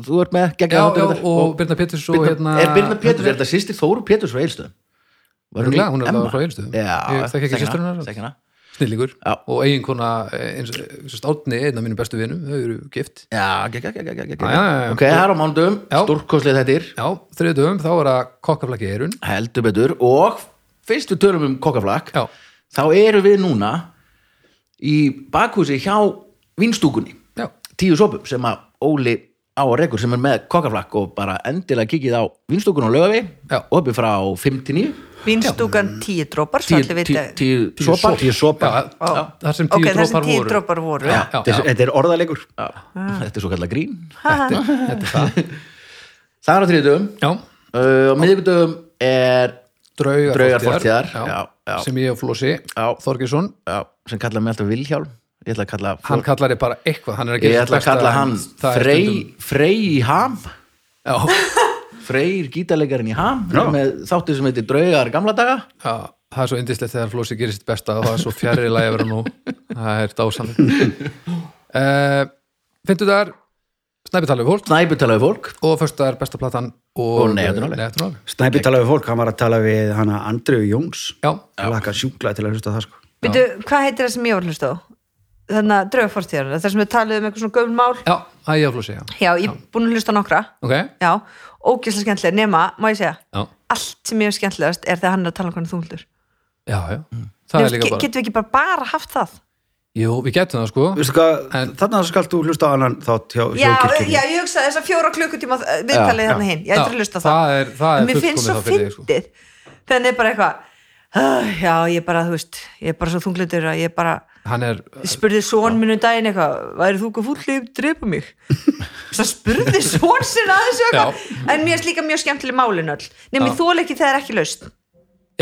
S1: þú ert með
S3: Já,
S1: geggjað
S3: já,
S1: þáttur þar.
S3: og Birna Péturs og
S1: Birna,
S3: hérna
S1: er Birna Péturs, er þetta sýstir Þóru Péturs frá Egilstöðum? Var
S3: Örugglega, hún er
S1: í
S3: alveg
S1: Emma?
S3: frá Egilsstöðum.
S1: Já,
S3: Ég þekki ekki
S1: þekki
S3: systur hennar.
S1: hana, þekki hana.
S3: Snillingur
S1: Já.
S3: og eiginkona eh, eins og Árni, einn af mínum bestu vinum þau eru gift
S1: Já, geggjað, geggjað, geggjað,
S3: Já, já, já,
S1: geggjað
S3: já.
S1: Ok, það er á mánudum,
S3: Já.
S1: stórkoslið þetta er
S3: Já, þriðu dögum, þá er að kokkaflaki erun
S1: heldur betur og fyrst við tölum um kokkaflak
S3: Já.
S1: þá eru við núna í bakhúsi hjá vinstúkunni
S3: Já,
S1: tíu sopum sem að Óli á að rekur sem er með kokkaflakk og bara endilega kikið á vinstúkun og lögavi
S3: Já.
S1: opið frá 5 til 9
S4: vinstúkan tíu drópar svo
S1: 10,
S4: allir vita
S1: sopar
S2: Tíu sopa.
S3: Já, þar sem
S4: ok,
S3: tíu
S4: þar sem
S3: dropar
S4: tíu
S3: voru
S4: drópar voru
S3: Já, já,
S2: Þetta er- þetta er orðalegur
S1: Já, þetta er svo kallar grín
S4: Ha, ha.
S1: það er á þriðdöfum
S3: já,
S1: uh, á miðvikudöfum er
S3: draugar,
S1: Draugar fortíðar,
S3: fortíðar,
S1: já, já.
S3: sem ég og Flósi
S1: Já.
S3: Þorgesson,
S1: já, sem kallar mig alltaf Vilhjálm ég ætla að kalla,
S3: hann kallar þið bara eitthvað hann er að
S1: ég
S3: gera sitt
S1: ætla að
S3: besta,
S1: kalla
S3: en
S1: hann
S3: það er
S1: Frey,
S3: stundum-
S1: Frey í ham
S3: já,
S1: Freyr gítalegarinn í ham
S2: Já.
S1: með þáttir sem heitir Draugar gamla daga
S3: já, það er svo indislegt þegar Flósi gerir sitt besta og það er svo fjarrri lagi að vera nú það er dásanlega uh, Fyndu þar Snæpitalegu Holt
S1: snæputalaði fólk
S3: og fyrst er besta platan og,
S1: Og Nei, þetta er alveg.
S3: Neyðatunál
S2: Snæpi talaði við fólk, hann var að tala við hana Andreu Jóns
S3: Já,
S2: hann lakka sjúkla til að hlusta á það sko
S4: Býtu, hvað heitir það sem ég var hlust á? Þannig að drauga fortíðar, það sem við talið um eitthvað svona gömul mál
S3: já, það er ég og Flósi já.
S4: Já, ég er búin að hlusta á nokkra
S3: Ok,
S4: Já, ógæslega skemmtilega, nema, má ég segja
S3: já,
S4: Allt sem ég er skemmtilegast er þegar hann er að tala um hvernig þunglur
S3: já, já
S4: Mm.
S3: Það er líka bara,
S4: Getum við ekki bara bara haft það?
S3: jú, við getum það sko
S2: Veistu hvað,
S3: En-
S2: þarna skal þú hlusta á annan þátt hjá
S4: Já, eh,
S2: þjóðkirkjunni
S4: já, ég hugsa þess að fjóra klukkutíma eh, viðtalið
S2: Já,
S4: hérna hinn, ég eitthvað að hlusta á það
S3: það er, það er
S4: Mér finnst svo
S3: fullkomið þá fyrir þig, sko.
S4: fyndið Þannig er bara eitthvað "Ah, Já, ég er bara, þú veist, ég er bara svo þunglindur að ég er bara
S3: Hann er,
S4: spurði són minn um daginn eitthvað væri þú hvað fúll að drepa mig svo spurði són sinna að þessu eitthvað en mér er líka mjög skemmtileg málin öll nema ég þól ekki þegar það er ekki laust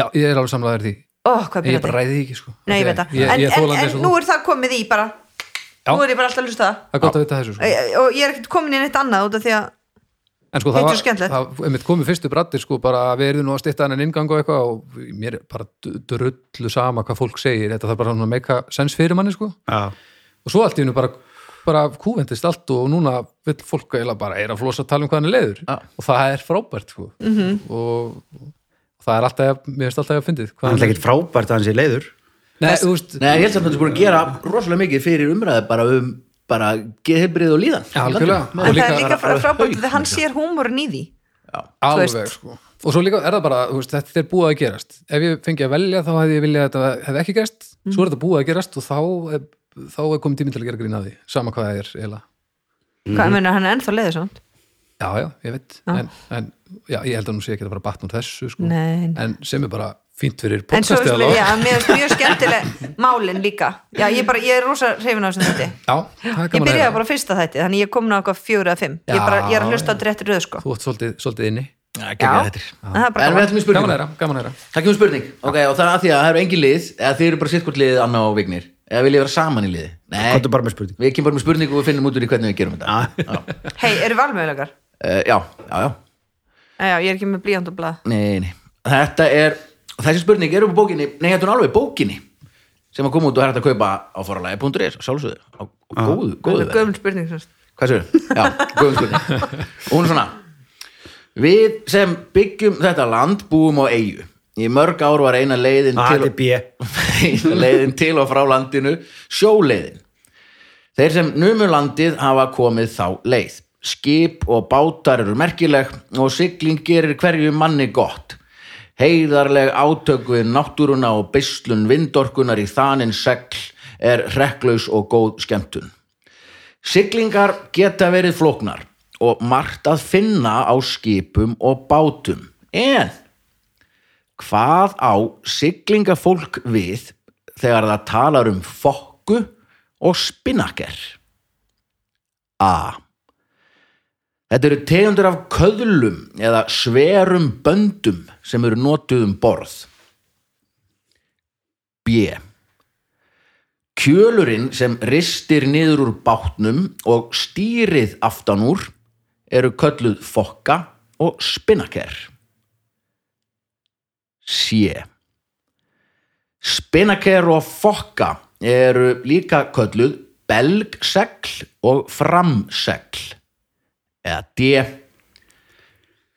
S3: já, ég er alveg samlaður því
S4: ó, hvað
S3: Ég
S4: byrjaði
S3: bara ræði því ekki sko
S4: Nei, ég veit það.
S3: Ég,
S4: en,
S3: ég
S4: en,
S3: þóla
S4: en nú er það komið í bara
S3: Já.
S4: nú er ég bara alltaf að lusta það
S3: Það er gott að vita þessu sko
S4: E- og ég er ekkert komin inn eitt annað út af því að
S3: En sko það
S4: Þetta er
S3: var,
S4: skemmtilegt.
S3: það einmitt komið fyrstu brattir sko bara að við erum nú að stytta hennan ingang og eitthvað og mér er bara d- drullu sama hvað fólk segir, þetta þarf bara svona að meika sens fyrir manni sko
S2: Já.
S3: og svo allt í hennu bara, bara kúvendist allt og núna vill fólk eiginlega bara er að flosa að tala um hvað hann er leiður
S1: Já.
S3: og það er frábært sko -hmm. og, og það er alltaf, mér finnst alltaf að fyndið hvað
S2: hann er ekkert frábært að hann sé leiður
S3: Nei, þú veist,
S1: Nei, ég held samt að þetta er búin að gera rosalega mikið fyrir umræði bara um bara geðheilbrið og líðan
S3: Ja, algjörlega.
S1: Í landinu.
S3: Og
S4: en það
S3: líka
S4: er líka
S3: bara-
S4: frá- frábært
S1: haug,
S4: þegar hann sér húmórin í því þú veist.
S3: alveg sko og svo líka er það bara, þú veist, þetta er búið að gerast ef ég fengi að velja þá hefði ég viljað að þetta hefði ekki gerst,
S4: Mm.
S3: svo er þetta búið að gerast og þá er, þá er komið tíminn til að gera grín að því sama hvað það er eiginlega Mhm.
S4: hvað meina hann er ennþá leiður samt
S3: já, já, ég veit, en, en já, ég held að nú sé ekki að bara batna úr þessu sko.
S4: Nei.
S3: en sem er bara fínt fyrir
S4: en svo
S3: podcastið
S4: er
S3: alveg.
S4: já, mér er mjög skemmtileg málin líka já, ég, bara, ég er rosa hrifin á þessum þetta
S3: já, það er
S4: Ég
S3: gaman að
S4: byrjaði
S3: heyra.
S4: bara á fyrsta þætti, þannig ég er komin á eitthvað fjóra eða fimm. Ég, er bara, ég er að
S3: Já,
S4: hlusta á þetta réttir röð, sko.
S3: þú ert svolítið, svolítið inni
S1: Já, geggjað þetta er.
S4: En það er bara
S1: En við
S4: gaman.
S1: ætlum í
S3: gaman að
S1: spurningu
S3: heyra, gaman að heyra
S1: Það kemur spurning, ok, og það er að því að það eru engin lið eða þið eru bara sittkvort liðið Anna og Vignir eða viljið vera saman í liði
S2: Komdu bara með spurningu.
S1: Við kemum bara með spurningu og við finnum út úr í hvernig við gerum þetta Já,
S4: Hei, eru valmöðulegar?
S1: Eh, já, já, já.
S4: Já, ég er ekki með blíjand og blað.
S1: Nei, nei. Þetta er, þessi spurning er upp á bókinni Nei, þetta er alveg bókinni sem að koma út og er hægt að kaupa á foralagi.is og sjálfsögðu, á á góðu, góðu verði.
S4: Gömul spurning, semst.
S1: Hvað sér? Já, guðumskurni. Hún er svona. Við sem byggjum þetta land búum á eigu. Í mörg ár var eina leiðin,
S2: A
S1: til,
S2: til B E.
S1: eina leiðin til og frá landinu sjóleiðin. Þeir sem numu landið hafa komið þá leið. Skip og bátar eru merkileg og sigling gerir hverju manni gott. Heiðarleg átök við náttúruna og beislun vindorkunar í þanin segl er hrekklaus og góð skemmtun. Siglingar geta verið flóknar og margt að finna á skipum og bátum. En hvað á siglingafólk við þegar það talar um fokku og spinnaker? A. Þetta eru tegundur af köðlum eða sverum böndum sem eru notuð um borð. B. Kjölurinn sem ristir niður úr bátnum og stýrið aftan úr eru kölluð fokka og spinnaker. Sjö. Spinnaker og fokka eru líka kölluð belgsegl og framsegl. Eða D.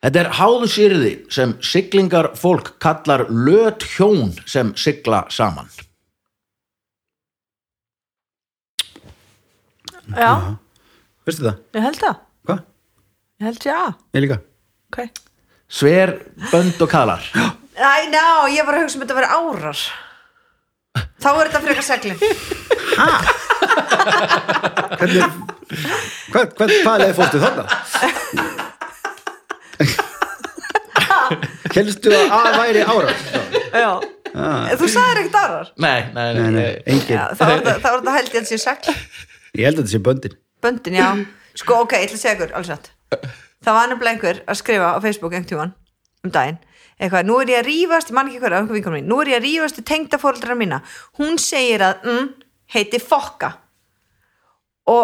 S1: Þetta er háðusýrði sem siglingar fólk kallar löt hjón sem sigla saman.
S4: Já,
S2: veistu það,
S4: ég held það.
S2: hvað,
S4: Ég held já.
S2: ég líka
S4: Ok.
S1: Sver, bönd og kalar
S4: Æ, ná, ég var að hugsa um þetta að vera árar. Þá er þetta frekar seglin.
S2: hvernig, Hvað, hvað, hvað leið fórstu þarna? Helstu að að væri ára?
S4: Já. Þú sagðir ekkert aðrar.
S1: Nei, nei, nei,
S2: Nei, nei,
S4: Já,
S2: engin.
S4: þá er þetta- þá er þetta held ég að sé segl.
S2: Ég held að þetta sé böndin.
S4: Böndin, já. Sko, ok, ég ætla að segja ykkur, alls nátt. Það var nefnilega einhver að skrifa á Facebook einhvern tímann um daginn. Eitthvað, nú er ég að rífast, ég man ekki hver, einhver vinkonum mín, nú er ég að rífast í tengdafóreldrar mína. Hún segir að, mm, heiti fokka. og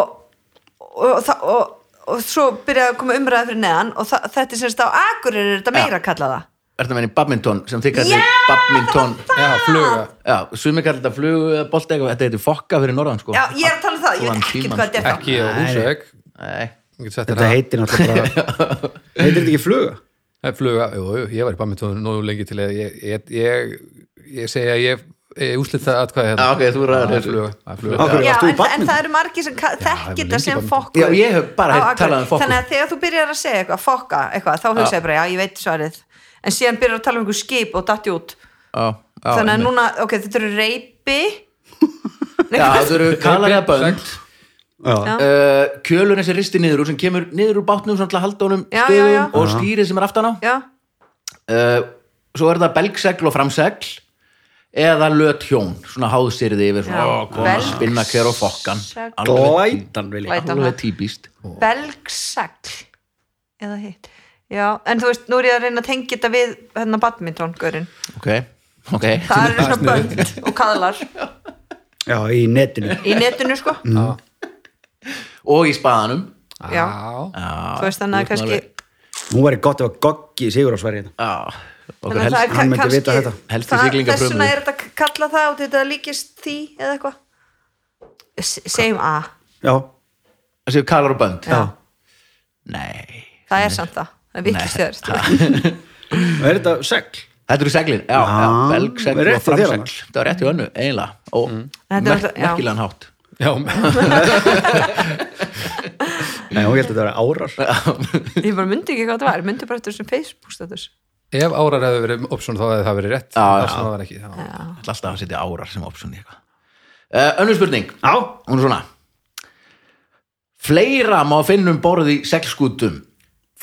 S4: og, og, og, og svo byrjaði að koma umræða fyrir neðan og þa- þetta er semst á Akureyri er þetta meira að kalla það
S1: Ertu að menna í badminton sem þið kallir
S4: Já,
S1: badminton
S3: Já, fluga
S1: Já, sumi kallir þetta flugu eða bolti eitthvað Þetta heitir fokka fyrir norðan sko
S4: Já, ég er að tala um það, ég
S1: Allan
S4: veit ekki
S1: tímann,
S4: hvað þetta er þá
S3: Ekki á húsvegg
S1: Nei,
S3: Ég get sett þér
S2: Þetta
S3: að-
S2: heitir náttúrulega bara... heitir þetta ekki fluga?
S3: Það er fluga, jú, jú, ég var í badminton nógu lengi til að ég, ég, ég, ég segja að ég, ég úslit það atkvæði hérna.
S1: Já, ok, þú ræður
S3: Það er
S1: þessu.
S3: fluga, það er fluga.
S2: Af hverju
S4: Já,
S2: varst þú í
S4: en, en
S2: badminton?
S4: það eru margir sem ka-
S3: ég
S4: þekkir
S3: var
S4: þetta
S3: lengi í
S4: sem
S3: badminton.
S4: fokku
S1: Já, ég hef bara
S4: á
S1: heyrt
S4: Akureyri.
S1: talað um fokku.
S4: Þannig að þegar þú byrjar að segja eitthvað, fokka eitthvað, þá hugsaði ég bara, já, ég veit svarið En síðan byrjar að tala um einhver skip og datti út
S1: já, já
S4: Þannig að
S1: einmitt.
S4: núna, ok, þetta eru reypi
S1: Já, þú eru kallar eða bönd
S3: Segl.
S2: Já.
S1: uh, Kjölun þessi risti niður úr sem kemur niður úr bátnum svona til að halda honum
S4: Já, já,
S1: stöðum
S4: já.
S1: og stýrið sem er aftan á
S4: Já,
S1: uh, Svo er það belgsegl og framsegl eða löt hjón svona háðsýrði yfir
S4: Já.
S1: svona, svona
S4: Belgsegl.
S1: spinna hver og fokkan alveg,
S2: Glætan vil ég.
S4: Glætan.
S1: alveg típist
S4: belgsagl Eða hitt Já, en þú veist, nú er ég að reyna að tengja þetta við hennar badminton-görinn
S1: Ok, ok
S4: Það eru svona bönd og kaðlar
S2: Já, í netinu.
S4: í netinu, sko
S1: Mm. Og í spaðanum
S4: Já,
S3: Já.
S1: Þú
S4: þú veist þannig að
S1: ert
S4: kannski
S1: alveg-
S2: Nú væri gott ef að goggi hérna. sigur á sværi þetta.
S1: Já, okkur
S4: Þannig að
S1: helst
S4: það er
S2: hann myndi
S4: kannski-
S2: vita þetta.
S1: Helsti
S4: það-
S1: siglingafrömuður.
S4: Þess vegna er þetta k- kalla það og þetta líkist því eða eitthvað S- Same A
S2: Já,
S1: Það séu kallar og bönd
S4: Já.
S1: Nei
S4: Það er samt það, það vikist þér
S2: er þetta segl?
S1: Þetta eru seglin, já, já,
S2: Já,
S1: belgsegl og
S2: rétt hjá þér
S1: framsegl
S2: annars.
S1: Það var rétt í önnu, eiginlega og
S4: Þetta er
S1: merk,
S4: alltaf- já.
S1: merkilegan hátt
S3: Já,
S2: Nei, hún held að þetta væri árar.
S4: Ég bara myndi ekki hvað það var, ég myndi bara eftir þessum Facebook status
S3: ef árar hefði verið option þá hefði það verið rétt.
S1: Já, já.
S3: Option það var ekki. Já.
S1: Það er alltaf að setja árar sem option í eitthvað uh, Önnur spurning,
S2: Já,
S1: hún er svona Fleira má finna um borð í seglskútum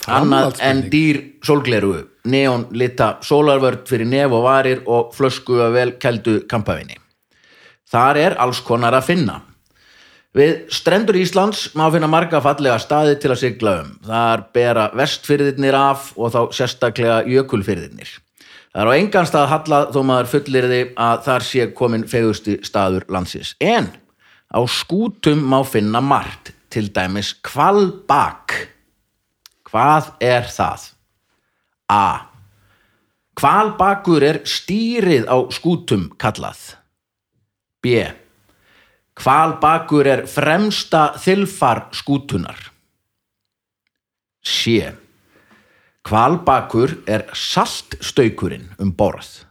S1: annað en
S3: Framhaldsspurning.
S1: dýr sólgleru neon lita sólarvörd fyrir nef og varir og flösku að vel kældu kampavinni Þar er alls konar að finna. Við strendur Íslands má finna marga fallega staði til að sigla um. Þar bera vestfyrðirnir af og þá sérstaklega jökulfyrðirnir. Það er á engan stað hallað þó maður fullirði að þar sé komin fegusti staður landsins. En á skútum má finna margt, til dæmis kvalbak. Hvað er það? A. Kvalbakur er stýrið á skútum kallað. B. Hvalbakur er fremsta þilfar skútunar. C. Hvalbakur er saltstaukurinn um borð.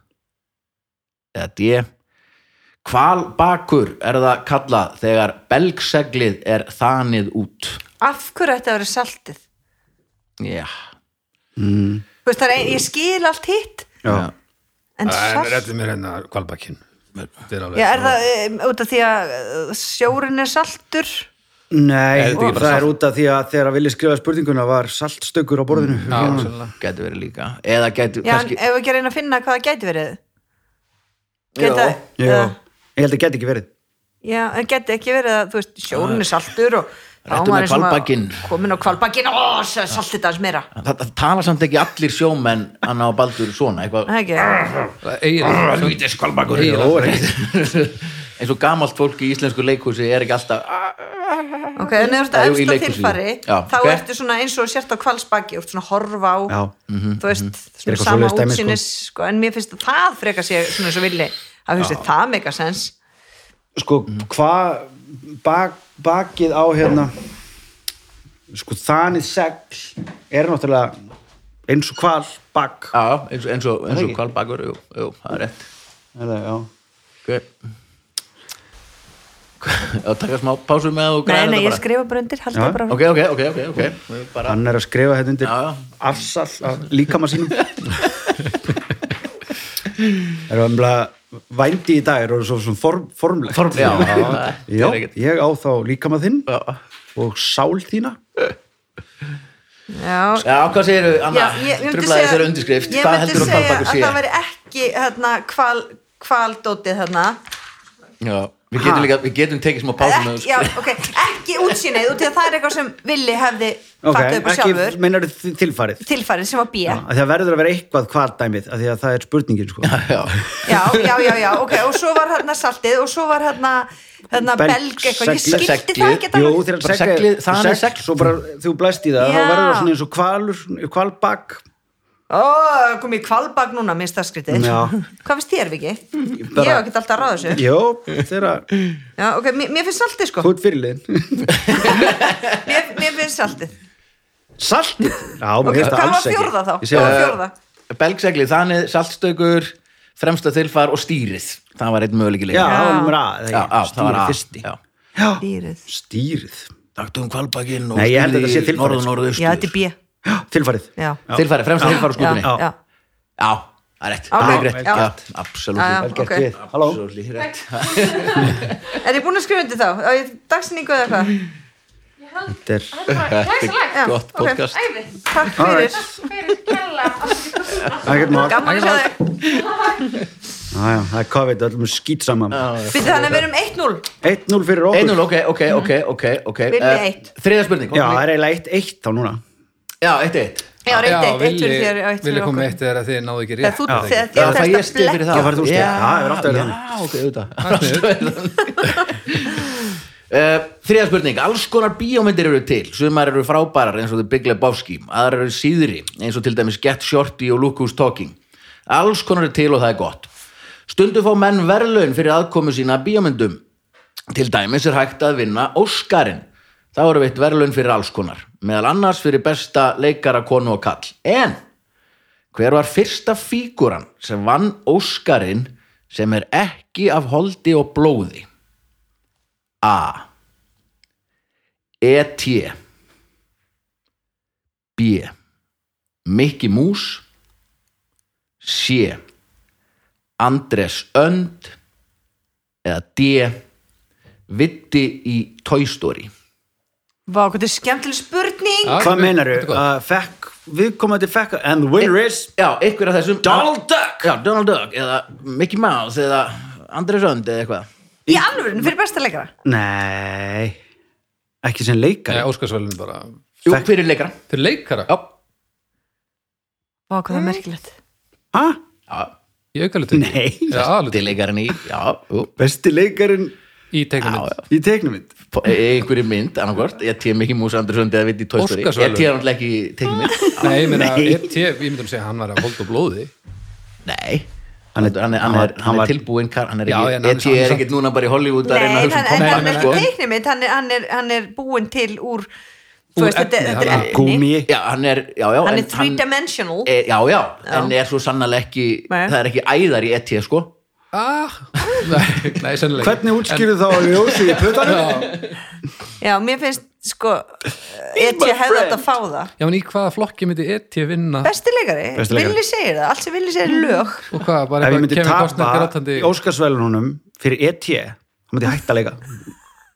S1: Eða D. Hvalbakur er það kallað þegar belgseglið er þanið út.
S4: Af hverju ætti að vera saltið?
S1: Já.
S4: Þú veist, það er ein, ég skil allt hitt
S2: já.
S4: En
S3: Það er
S4: salt
S3: réttið mér hérna kvalbakkin. Þetta er alveg.
S4: Já, er það um, út af því að uh, sjórinn er saltur?
S2: Nei,
S3: Er þetta ekki bara
S2: það er
S3: salt?
S2: út af því að þegar að vilja skrifa spurninguna var saltstökur á borðinu.
S3: Já,
S2: Hérna.
S3: sennilega.
S1: Gæti verið líka. Eða gæti
S4: Já, en
S1: kannski...
S4: ef við ekki að reyna að finna hvað það gæti verið
S1: Jó.
S4: Geta,
S2: Já, ég held að geta ekki verið.
S4: Já, en geti ekki verið að, þú veist, sjórun er saltur og þá
S1: Réttu
S4: maður
S1: með
S4: er svona
S1: hvalbakinn.
S4: komin á kvalbakkin og saltið það meira
S1: Það, það tala samt ekki allir sjómenn Anna og Baldur svona, eitthvað
S4: Það ekki,
S3: Það eigir.
S1: Helvíti skvalbakur
S3: Nei,
S1: Jó, eins og gamalt fólk í íslensku leikhúsi er ekki alltaf "Ah,
S4: ok, en ef þú ert
S1: Já, jú, í
S4: efst á
S1: leikhúsinu.
S4: tilfari
S1: Já,
S4: þá
S1: ok.
S4: ertu svona eins og sért á kvalsbakki og svona að horfa á,
S2: Já.
S1: mhm,
S4: þú veist
S2: Er
S4: svona
S2: eitthvað
S4: sama
S2: svoleiðis dæmi, sko.
S4: útsýnis sko, en mér finnst að það frekar sé svona eins og villi að þú veist, það meika sens
S2: Sko, hvað bak, bakið á hérna sko, þanið segl er náttúrulega eins og hval, bak.
S1: Já, já, eins, eins og, eins og
S2: Ekki?
S1: kvalbakur jú, jú, það er rétt
S2: Eða, já.
S1: okay. og taka smá pásu með að þú
S4: Nei,
S1: græðir
S4: nei,
S1: þetta
S4: ég
S1: bara.
S4: skrifa bara undir, haldið
S2: Já.
S4: bara áfram.
S1: ok, ok, ok, ok, okay. Bara,
S2: Hann er að skrifa hérna undir
S1: Já, já.
S2: afsall af líkama sínum Það eru umlega vændi í dag er orðið svo svona form, formlegt.
S1: Form- já, það er
S2: já,
S1: ekkert.
S2: ég á þá líkama þinn
S1: Já,
S2: og sál þína.
S4: Já,
S1: já hvað segir þau, Anna?
S4: Já, ég, ég myndi
S1: Trublaði
S4: segja-
S1: þessari undirskrift,
S4: ég
S1: hvað
S4: myndi
S1: heldur þú að
S4: segja
S1: þarbakur
S4: að
S1: sé?
S4: það væri ekki hérna, hval, hvaldótið hérna
S1: Já, við getum
S2: Ha?
S1: líka, við getum tekið smá pásum
S4: ekki, Eh, já, okay, ekki útsýnið út í að það er eitthvað sem Villi hefði
S2: Ok,
S4: fattað upp á sjálfur
S2: ekki meinar tilfarið.
S4: tilfærið sem var B já.
S2: Af því Það verður að vera eitthvað hvar dæmið, af því að það er spurningin, sko.
S1: já,
S4: já, já, já, ok og svo var hérna saltið og svo var hérna, hérna
S2: Belg-
S4: belg eitthvað, ég
S2: seglið.
S4: skilti það ekki
S2: Jú,
S4: alveg.
S2: þegar
S1: Bara
S2: segl-
S1: seglið, það er
S2: segl,
S1: segl.
S2: Svo bara þegar þú blæst í það,
S4: Já.
S2: þá verður það svona eins og kvalur, svona kvalbak.
S4: ó, kom ég kvalbak núna minnst það skrítið
S2: Já.
S4: hvað finnst þér Viki?
S2: Bara-
S4: ég hef ekki alltaf að ráða þessu
S2: Jó, þegar
S4: já, ok, mér, mér finnst saltið sko
S2: þú ert fyrirliðin.
S4: mér, mér finnst saltið
S2: Saltið? Eh, Já, mér
S4: ok,
S2: finnst það
S4: hvað var
S2: alls ekki.
S4: fjórða þá?
S2: Ég
S4: Hvað
S2: segi
S4: var
S2: það.
S4: fjórða?
S1: belgsegli, þannig, saltstökur fremsta þilfar og stýrið það var einn möguleiki
S2: Já,
S1: leik
S2: það var mér
S1: já, já, það
S2: að,
S1: var
S2: stýrið
S1: að
S2: fyrsti. um
S1: já.
S2: Já,
S4: Dýrið.
S2: stýrið.
S1: Taktum kvalbakinn og
S2: Nei, ég held að þetta sé tilfarið,
S1: norðu,
S2: sko.
S1: norðu,
S4: já, þetta er B
S2: Já, Tilfarið.
S4: já,
S1: Tilfæri, fremsta tilfæri
S4: já,
S1: skútunni Já,
S4: já.
S1: það er rétt
S4: Ok,
S1: Það er rétt,
S4: já.
S1: já,
S4: Já, já.
S1: absolutt
S2: Vel gert
S4: Ok.
S2: við. Halló.
S1: Absolutt rétt
S4: Er ég búin að skrifa undir þá? Á ég Dagsinningu eða hvað?
S2: Þetta er...
S5: Glæsilegt.
S4: Já,
S1: Gott
S4: ok.
S1: podcast
S5: Æði.
S4: Takk fyrir
S5: Fyrir kella.
S2: Ekkert mál.
S4: Gaman að sjá þig
S2: Já, já, Það er COVID, öllum skýt saman.
S4: Býttu þannig að við erum 1-0
S2: 1-0 fyrir okkur.
S1: 1-0, ok, ok, ok, ok, ok
S4: Villi
S1: Eh,
S4: eitt.
S1: Þriðja spurning,
S2: Já,
S1: komum
S2: það
S1: við-
S2: er eiginlega 1-1 þá núna.
S1: já, eitt eitt
S4: Já, reyndi eitt, eitt
S3: villi,
S4: fyrir þér og eitt
S3: villi
S4: fyrir
S3: kom
S4: okkur
S3: eitt þegar að þið náðu ekki
S4: Þegar
S3: rétt
S4: þú,
S2: Já.
S4: þegar
S1: Já,
S4: þér
S1: það ég
S4: þarfst
S1: stið
S4: að
S1: fyrir
S4: blekja
S1: það
S2: Já, færðu þú stig.
S1: Já,
S2: Já, það er oft verið þannig.
S1: Já, ok,
S3: Það er sniðugt.
S1: auðvitað Uh, þriða spurning, alls konar bíómyndir eru til sumar eru frábærar eins og The Big Lebowski aðrar eru síðri eins og til dæmis Get Shorty og Look Who's Talking alls konar eru til og það er gott stundu fá menn verðlaun fyrir aðkomu sína að bíómyndum til dæmis er hægt að vinna Óskarinn þá eru veitt verðlaun fyrir alls konar meðal annars fyrir besta leikara konu og kall en hver var fyrsta fíguran sem vann Óskarinn sem er ekki af holdi og blóði A E.T. B Mickey Mouse C Andres Önd eða D Vitti í Toy Story
S4: Vá, hvað þetta er skemmtileg spurning
S3: Já,
S2: Hvað meinaru?
S3: þetta er gott.
S2: Fekk, viðkomandi fekk, and the winner is...
S1: Já, einhver af þessum
S2: Donald Duck!
S1: Já, Donald Duck eða Mickey Mouse eða Andres Önd eða eitthvað
S4: Í alvöru, fyrir besta leikara
S2: Nei, ekki sem
S3: Nei,
S2: leikari.
S3: Óskarsvælun bara
S1: Jú,
S2: Fekk-
S1: hver er leikara?
S3: Fyrir leikara?
S1: Já,
S4: Vá, hvað það er merkilegt
S2: Hæ?
S1: já,
S3: Í aukalutu?
S2: Nei.
S3: Já,
S1: til
S3: aðalutu
S1: leikarinn í Já, jú,
S2: Besti leikarin
S3: Í teiknumynd
S2: í teiknumind.
S1: P- einhverju e- mynd, annarkvort E ég teg mikið Músa Andersson eða vitt í Toy Story E ég
S3: Óskarsverðlaun.
S1: teg hann ekki tekið mynd
S3: Nei, ég meina,
S2: Nei.
S3: ET, ég myndum segja að hann var að holda og blóði
S1: nei
S2: Hann
S1: hann er, hann er,
S2: er-
S1: hann
S2: hann var-
S1: er, hann
S2: hann var-
S1: er tilbúin kar- hann er
S3: Já,
S1: ekki,
S3: en hann er
S1: ég teg er
S3: samt-
S1: ekkert núna bara í Hollywood að
S4: Nei,
S1: reyna
S4: hann,
S1: að hugsa
S4: en,
S1: um
S4: en
S1: Tom
S4: hann er
S1: Hanks,
S4: ekki
S1: sko.
S4: teiknimitt hann, er- hann, er- hann er búin til úr
S3: Úr
S4: Þú veist, þetta
S3: efni,
S4: þetta
S3: hann
S4: er
S3: er-
S4: efni
S2: Gúmi.
S1: já, hann er, já, já en
S4: Hann er three-dimensional
S1: e, já, já, en er svo sannlega ekki
S4: Nei.
S1: það er ekki æðar í ET sko
S3: Ah, nei, nei, sennilega
S2: Hvernig útskýrðu þá að ljósi í putanum?
S3: Já,
S4: Já, mér finnst, sko Eti
S2: my
S4: hefði
S2: friend.
S4: þetta að fá það
S3: já, en í hvaða flokki myndi ET vinna
S4: Besti leikari,
S2: Besti leikari.
S4: Villi segir það Allt sem Villi segir er lög
S3: og hvað, bara
S2: Ef ég
S3: eitthvað
S2: myndi
S3: kemur kostnað
S2: tapa
S3: grátandi
S2: í Óskarsvælunum fyrir ET, þá myndi ég hætta að leika.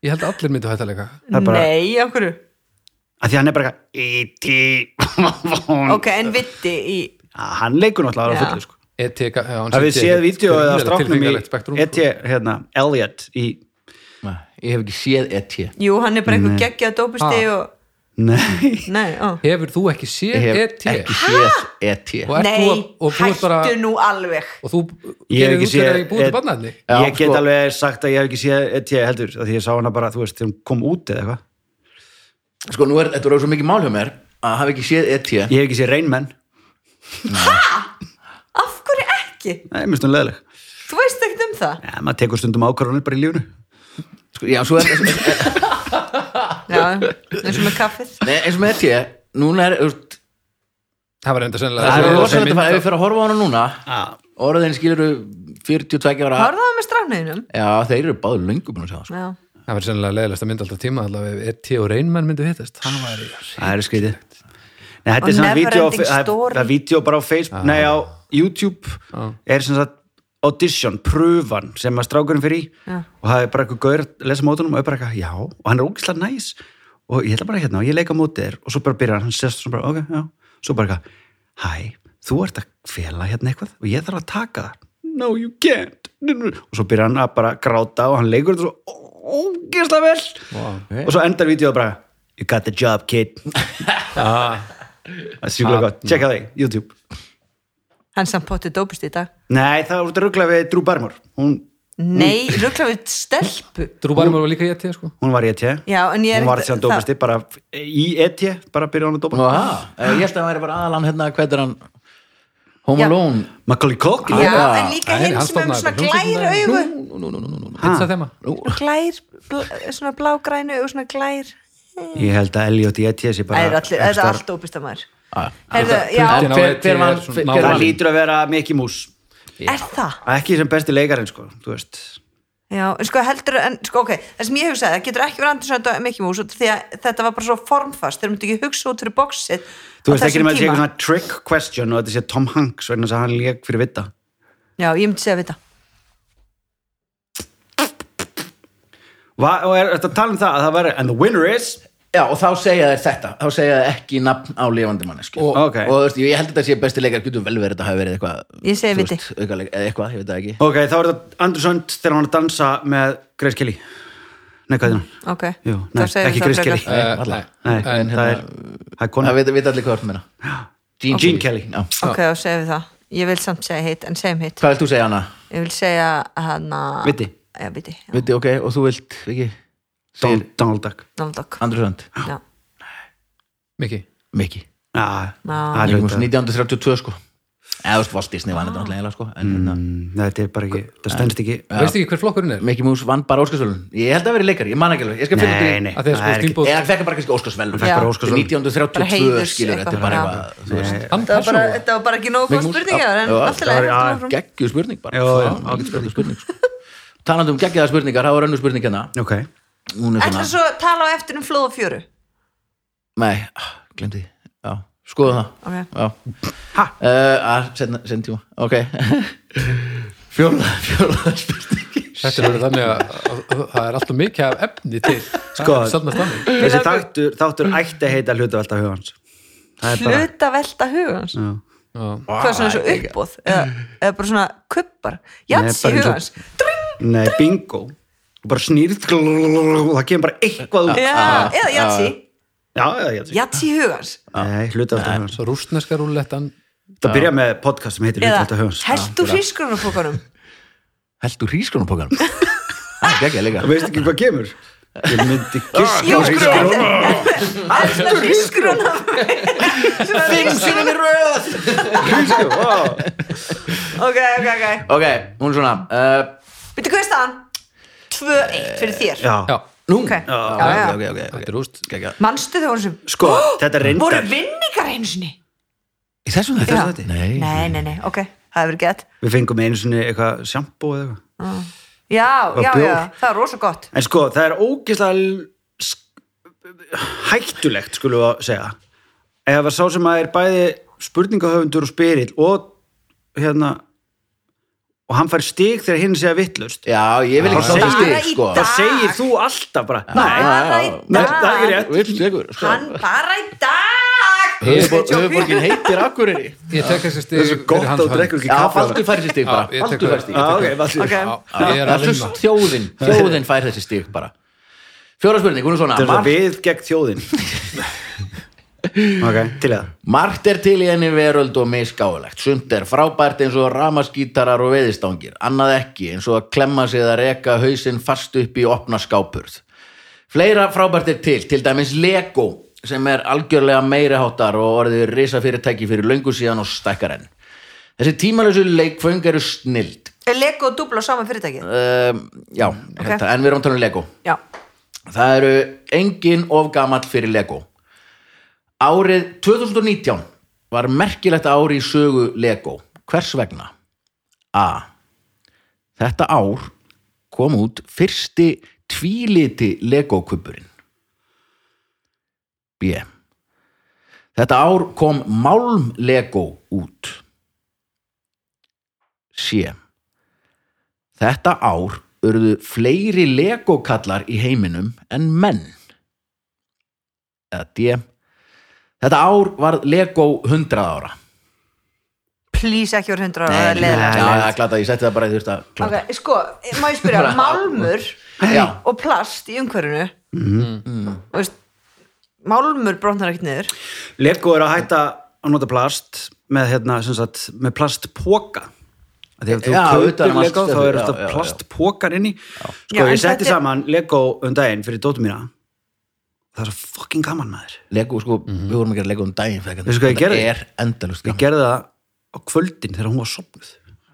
S3: Ég held að allir myndu hætta að leika
S2: Það er bara,
S4: Nei, af hverju
S2: að því hann er bara E eitthvað, ET,
S4: Ok, en vitti í
S2: Ah, hann leikur
S4: Já.
S2: náttúrulega aðra fullu sko.
S3: ET, E já, hann
S2: Það við séð vídeo eða
S3: gríðarlega
S2: stráknum í
S3: tilfinningalegt spektrum, sko.
S2: ET, hérna, Elliot í,
S1: ég hef ekki séð ET
S4: Jú, hann er bara einhver geggjað dópusti
S3: Ha.
S4: og
S2: nei
S4: Nei, ó
S3: sko. Hefur þú ekki
S1: ég
S3: séð E
S1: hef
S3: ET?
S1: ekki séð E ET
S3: Og ert
S4: Nei,
S3: þú að- og þú ert
S4: hættu
S3: bara-
S4: nú alveg
S3: Og þú
S2: Ég hef
S3: gerir út
S2: ekki
S3: fyrir
S2: séð E
S3: að ég búið
S2: ET.
S3: til barnaðni
S1: Já,
S2: ég get
S1: sko.
S2: alveg sagt að ég hef ekki séð ET heldur, af því ég sá hana bara, þú veist, þegar hún kom út eða eitthvað,
S1: sko, nú er, þetta er svo mikið mál hjá mér að hafa ekki séð E ET
S2: ég hef ekki séð reynmenn
S4: Af hverju ekki?
S2: nei, mér stundum leðileg,
S4: Þú veist ekkert um það
S2: ja, maður tekur stundum ákvarðanir bara í lífunu
S1: sko, já, svo er
S4: Já, eins og með kaffið
S1: Nei, eins og með ET, núna er þú veist,
S3: Það var enda sennilega
S1: það
S3: það
S1: er
S3: var
S1: rosalegt
S3: mynd-
S1: að fara, ef við fyrir að horfa á hana núna
S2: ah,
S1: orðin skilur 42 ára
S4: Hörðu það með strafnöðinum?
S1: já, þeir eru báður löngu búin að sjá það sko.
S4: Já,
S3: Það var sennilega leðilegast að mynda alltaf tíma allavega ef ET og Reynmenn myndu hittast Hann var í
S2: það er skrítið nei, þetta
S4: Og
S2: er svona
S4: never
S2: vídeo, á-
S4: ending
S2: það er-
S4: story.
S2: það er vídeo bara á Facebook, nei á YouTube, er sem sagt audition, pröfan sem að strákurinn fyrir í
S4: Já.
S2: og það er bara eitthvað gaur að lesa mótunum og er bara eitthvað, já, og hann er ógislega næs og ég ætla bara hérna og ég leika á móti þér og svo bara byrjar hann, hann sest og svo bara, ok, já svo bara eitthvað, hæ, þú ert að fela hérna eitthvað og ég þarf að taka það no, you can't og svo byrjar hann að bara gráta og hann leikur þetta svo ógislega vel
S1: ok.
S2: og svo endar vídeoð bara you got the job, kid það er sjúklega gott, checka það í YouTube
S4: hann samt potið dópist í dag
S2: Nei, það voru ruggla við Drew Barmore hún,
S4: nei, röglega við stelpu
S3: Drúbarum var líka í ET sko
S2: hún var í ET
S4: Já, en ég er
S2: Hún var
S4: ekki-
S2: síðan dópisti, bara í ET bara byrjaði hún að dópa
S1: Aha, eh, ég held að það væri bara aðalan hérna, hvað er hann Home
S4: Já.
S1: Alone
S2: Macaulay Culkin
S4: já,
S1: Já,
S4: en líka
S3: það er
S4: hinn
S3: Ah. hann
S4: sem er með
S3: stofnaði
S4: svona
S3: þetta, hún
S4: glær
S3: stofnaði
S4: augu
S1: Nú, nú, nú, nú, nú, nú.
S3: Þetta er þema
S4: glær, bl- svona blágrænu og svona glær
S2: Ég held að Elliot í ET sé bara
S4: það er allir- það er
S2: einhvers
S4: allt dópist að maður
S1: Ah.
S4: Herðu, já,
S3: Putin á
S1: Hver-
S3: ET
S1: hver
S3: er
S1: var-
S3: svona
S1: hver
S2: staðar.
S1: var
S2: Það
S3: nálægt.
S2: lítur að vera Mickey Mouse
S4: er það
S2: Ekki sem besti leikarinn, sko, þú veist
S4: Já, en sko heldur, en sko ok, það sem ég hugsaði, það getur ekki verið andur söndag Mickey Mouse út af því að þetta var bara svo formfast, þeir myndu ekki hugsa út fyrir boxið
S2: Þú veist ekki nema að sé eitthvað svona trick question og þetta sé Tom Hanks vegna þess að hann leik fyrir vita
S4: Já, ég myndi segja við þetta.
S2: Va, og er þetta að tala um það að það væri and the winner is
S1: Já, og þá segja þeir þetta þá segja þeir ekki nafn á lifandi manneski og,
S2: Ok.
S1: og þú veist, ég held að þetta sé besti leikar getur vel verið að hafa verið eitthvað
S4: Ég segi
S1: þú
S4: viti.
S1: veist, aukaleg- eða eitthvað, ég veit það ekki
S2: Ok, þá er þetta Andrew Sund þegar hann er að dansa með Grace Kelly Nei, hvað er hann?
S4: Ok,
S2: Jú,
S4: þá
S2: nei,
S4: segjum við
S2: ekki
S4: það
S2: Grace
S4: frekar.
S2: Kelly
S3: Eh,
S1: varla.
S2: Nei,
S3: en
S2: það
S3: hérna-
S2: er, það er kona
S1: Það veit, veit allir hvað orðum meina Gene,
S2: Gene Kelly.
S1: Já.
S4: Ok, þá segjum við það. Ég vil samt segja hitt, en segjum hitt.
S1: Hvað vilt þú segja hana?
S4: Ég vil segja hann að...
S2: Viti.
S4: Já, viti. já,
S1: Viti, ok, og þú vilt, ekki
S2: Don, Donald Duck
S4: Donald Duck.
S1: Andrew Sönd,
S4: Já,
S3: Mikki
S1: Mikki
S2: Já,
S4: Já.
S2: það er
S1: Mikki mús
S2: hluta.
S1: 1932 sko Eða þú veist, Walt Disney var þetta náttúrulega eiginlega, sko en, mm.
S2: Mm, Þetta er bara ekki, það stendst ekki
S3: Veist ekki hver flokkurinn er?
S1: Mikki Mús vann bara Óskarsvölun Ég held að vera leikari, ég man ekki alveg Ég skal finna út
S2: Nei,
S1: í-
S2: nei,
S3: Að þeir
S2: það
S3: sko
S2: er ekki E
S3: Steamboat
S1: Eða hann fekk bara kannski Óskarsvölun
S2: Fékk bara Óskarsverðlaun.
S1: 1932
S4: Bara heiðurs
S1: skilur þetta er
S4: eitthvað,
S1: bara
S4: já.
S1: eitthvað þú veist.
S3: Hann
S4: Það var bara,
S3: persónulega
S4: þetta var bara ekki nógu góð
S1: Mickey Mouse,
S4: spurninga,
S1: já,
S4: en
S1: já,
S4: alltaf
S2: það var-
S4: leið
S2: já,
S4: áfram.
S1: geggjuð spurning bara
S2: Já, já,
S1: ágætt spurning, spurning sko. talandi um geggjaða spurningar, það var önnur spurning hérna
S2: Ok,
S1: hún er
S4: Ætlar
S1: svona,
S4: svo að tala á eftir um flóð og fjöru?
S1: nei, ah, glemdi já, skoða það
S4: Ok.
S1: já,
S2: Ha?
S1: uh, sen, sen tíma ok fjóla, fjóla spurning
S3: Þetta er verið þannig að að- að það er alltaf mikið af efni til
S2: Sko-
S3: Sannast þannig
S2: þessi þáttur, þáttur ætti að heita hlutavelta hugans Það er bara
S4: Hluta velta hugans.
S2: Já.
S3: Já.
S4: hvað svona svo uppbóð eða, eða bara svona kuppar jats í
S2: bara eins og-
S4: hugans
S2: Nei, bingo Þú bara snýrð og það kemur bara eitthvað út
S4: já, eða jats í
S2: Já, já, já, já.
S4: jats í hugans
S2: Nei, hlutavelta hugans
S3: Svo rústneska rúllettan
S2: Það byrja með podcast sem heitir hlutavelta
S4: eða
S2: hugans
S4: heldu frískrunarfókanum
S1: heldur hrískronupokkanum það er geggjað leika
S2: Þú veist ekki hvað kemur Ég myndi
S4: Jú,
S2: giska á
S4: sko.
S2: hrísgrón.
S4: heldu frískrunarfókanum
S1: fimm sinni röð
S2: Hrísgrón, vá.
S4: ok, ok, ok
S1: ok, hún er svona uh,
S4: byrju hvað er staðan? 2-1 fyrir þér
S2: Já,
S3: Já,
S1: nú,
S4: Ok.
S1: Já,
S4: Já,
S1: ok,
S4: já.
S1: ok, ok,
S3: þetta
S1: ok
S3: er rúst
S1: geggjað
S4: manstu þegar hún sem
S2: sko, þetta
S4: voru
S2: reyndar
S4: vinningar einu sinni
S1: í þessum
S4: Já.
S1: þetta? nei,
S4: nei, nei, nei, ok, það hefur gett
S2: Við fengum einu sinni eitthvað sjampó eða eitthvað
S4: já,
S2: Og
S4: já,
S2: bjór.
S4: já, það er rosa gott
S2: En sko, það er ógislega l- sk- hættulegt, skulum við að segja ef að sá sem að er bæði spurningahöfundur og spyrill og hérna og hann fær stig þegar hinn segja vittlust
S1: já, ég vil
S2: Þá
S1: ekki sáta
S2: segir-
S1: stig sko
S4: Bara
S2: þá
S4: Dag.
S2: segir þú alltaf bara
S1: Já,
S2: Nei,
S4: bara
S1: já,
S4: í
S1: já.
S2: Nei, það er
S4: dag
S2: ekki rétt.
S1: vill segur
S4: hann bara í dag
S1: Höfubor- höfuborgin heitir Akureyri
S3: Ég tek þessi stig
S2: það er svo
S3: fyrir
S2: gott
S3: hans
S2: og
S3: hönd.
S2: drekkur ekki
S1: Já,
S2: kaffi
S1: Baldur fær þessi stig bara
S3: Já, ég tek
S1: Baldur
S3: það.
S1: fær stig
S2: Já, ok, valdur
S4: ok,
S3: Já, Ég er
S1: Það
S3: að
S1: er
S3: vinna
S1: þjóðin, þjóðin fær þessi stig bara Fjóra spurning, hún er svona
S2: Þetta er það
S1: margt,
S2: við gegn þjóðin Ok, til það
S1: margt er til í henni veröld og misgáulegt Sumt er frábært eins og ramaskítarar og veðistangir Annað ekki eins og að klemma sig eða reka hausinn fast upp í opna skápurð Fleira frábært er til, til dæmis Lego sem er algjörlega meiriháttar og orðið risafyrirtæki fyrir löngu síðan og stækkar enn Þessi tímalösu leikföng eru snild
S4: er Lego og Dublo sama fyrirtæki?
S1: um, Já, þetta, en við erum að tala um Lego
S4: já,
S1: Það eru engin of gamall fyrir Lego. Árið 2019 var merkilegt ári í sögu Lego. Hvers vegna? A. Þetta ár kom út fyrsti tvíliti Lego-kubburinn. B. Þetta ár kom Málm Lego út. C. Þetta ár urðu fleiri legokallar í heiminum en menn. Eða D. Þetta ár var Lego 100 ára.
S4: Please ekki voru hundra ára
S1: já,
S4: leðilegt
S1: já, glata, ég setti það bara í þurft að
S4: Ok,
S1: klata.
S4: sko, má ég spyrja,
S1: Bara-
S4: málmur
S1: Já,
S4: og plast í umhverfinu mm veist, málmur brotnar ekkert niður
S2: Lego er að hætta að nota plast með, hérna, sem sagt, með plastpoka þegar þú
S1: Já, utan
S2: kaupir
S1: um allt
S2: Lego þá
S1: stöfið,
S2: er
S1: já, já,
S2: þetta
S1: já.
S2: plastpokar inni sko
S4: Já, en
S2: ég setti
S4: þetta er-
S2: saman Lego um daginn fyrir dóttum mína það er svo fucking gaman maður
S1: Lego, sko, við vorum að gera Lego um daginn. fyrir
S2: Mhm. Veistu hvað ég gerði?
S1: Þetta er endalust
S2: ég gerði það á kvöldin þegar hún var sopnuð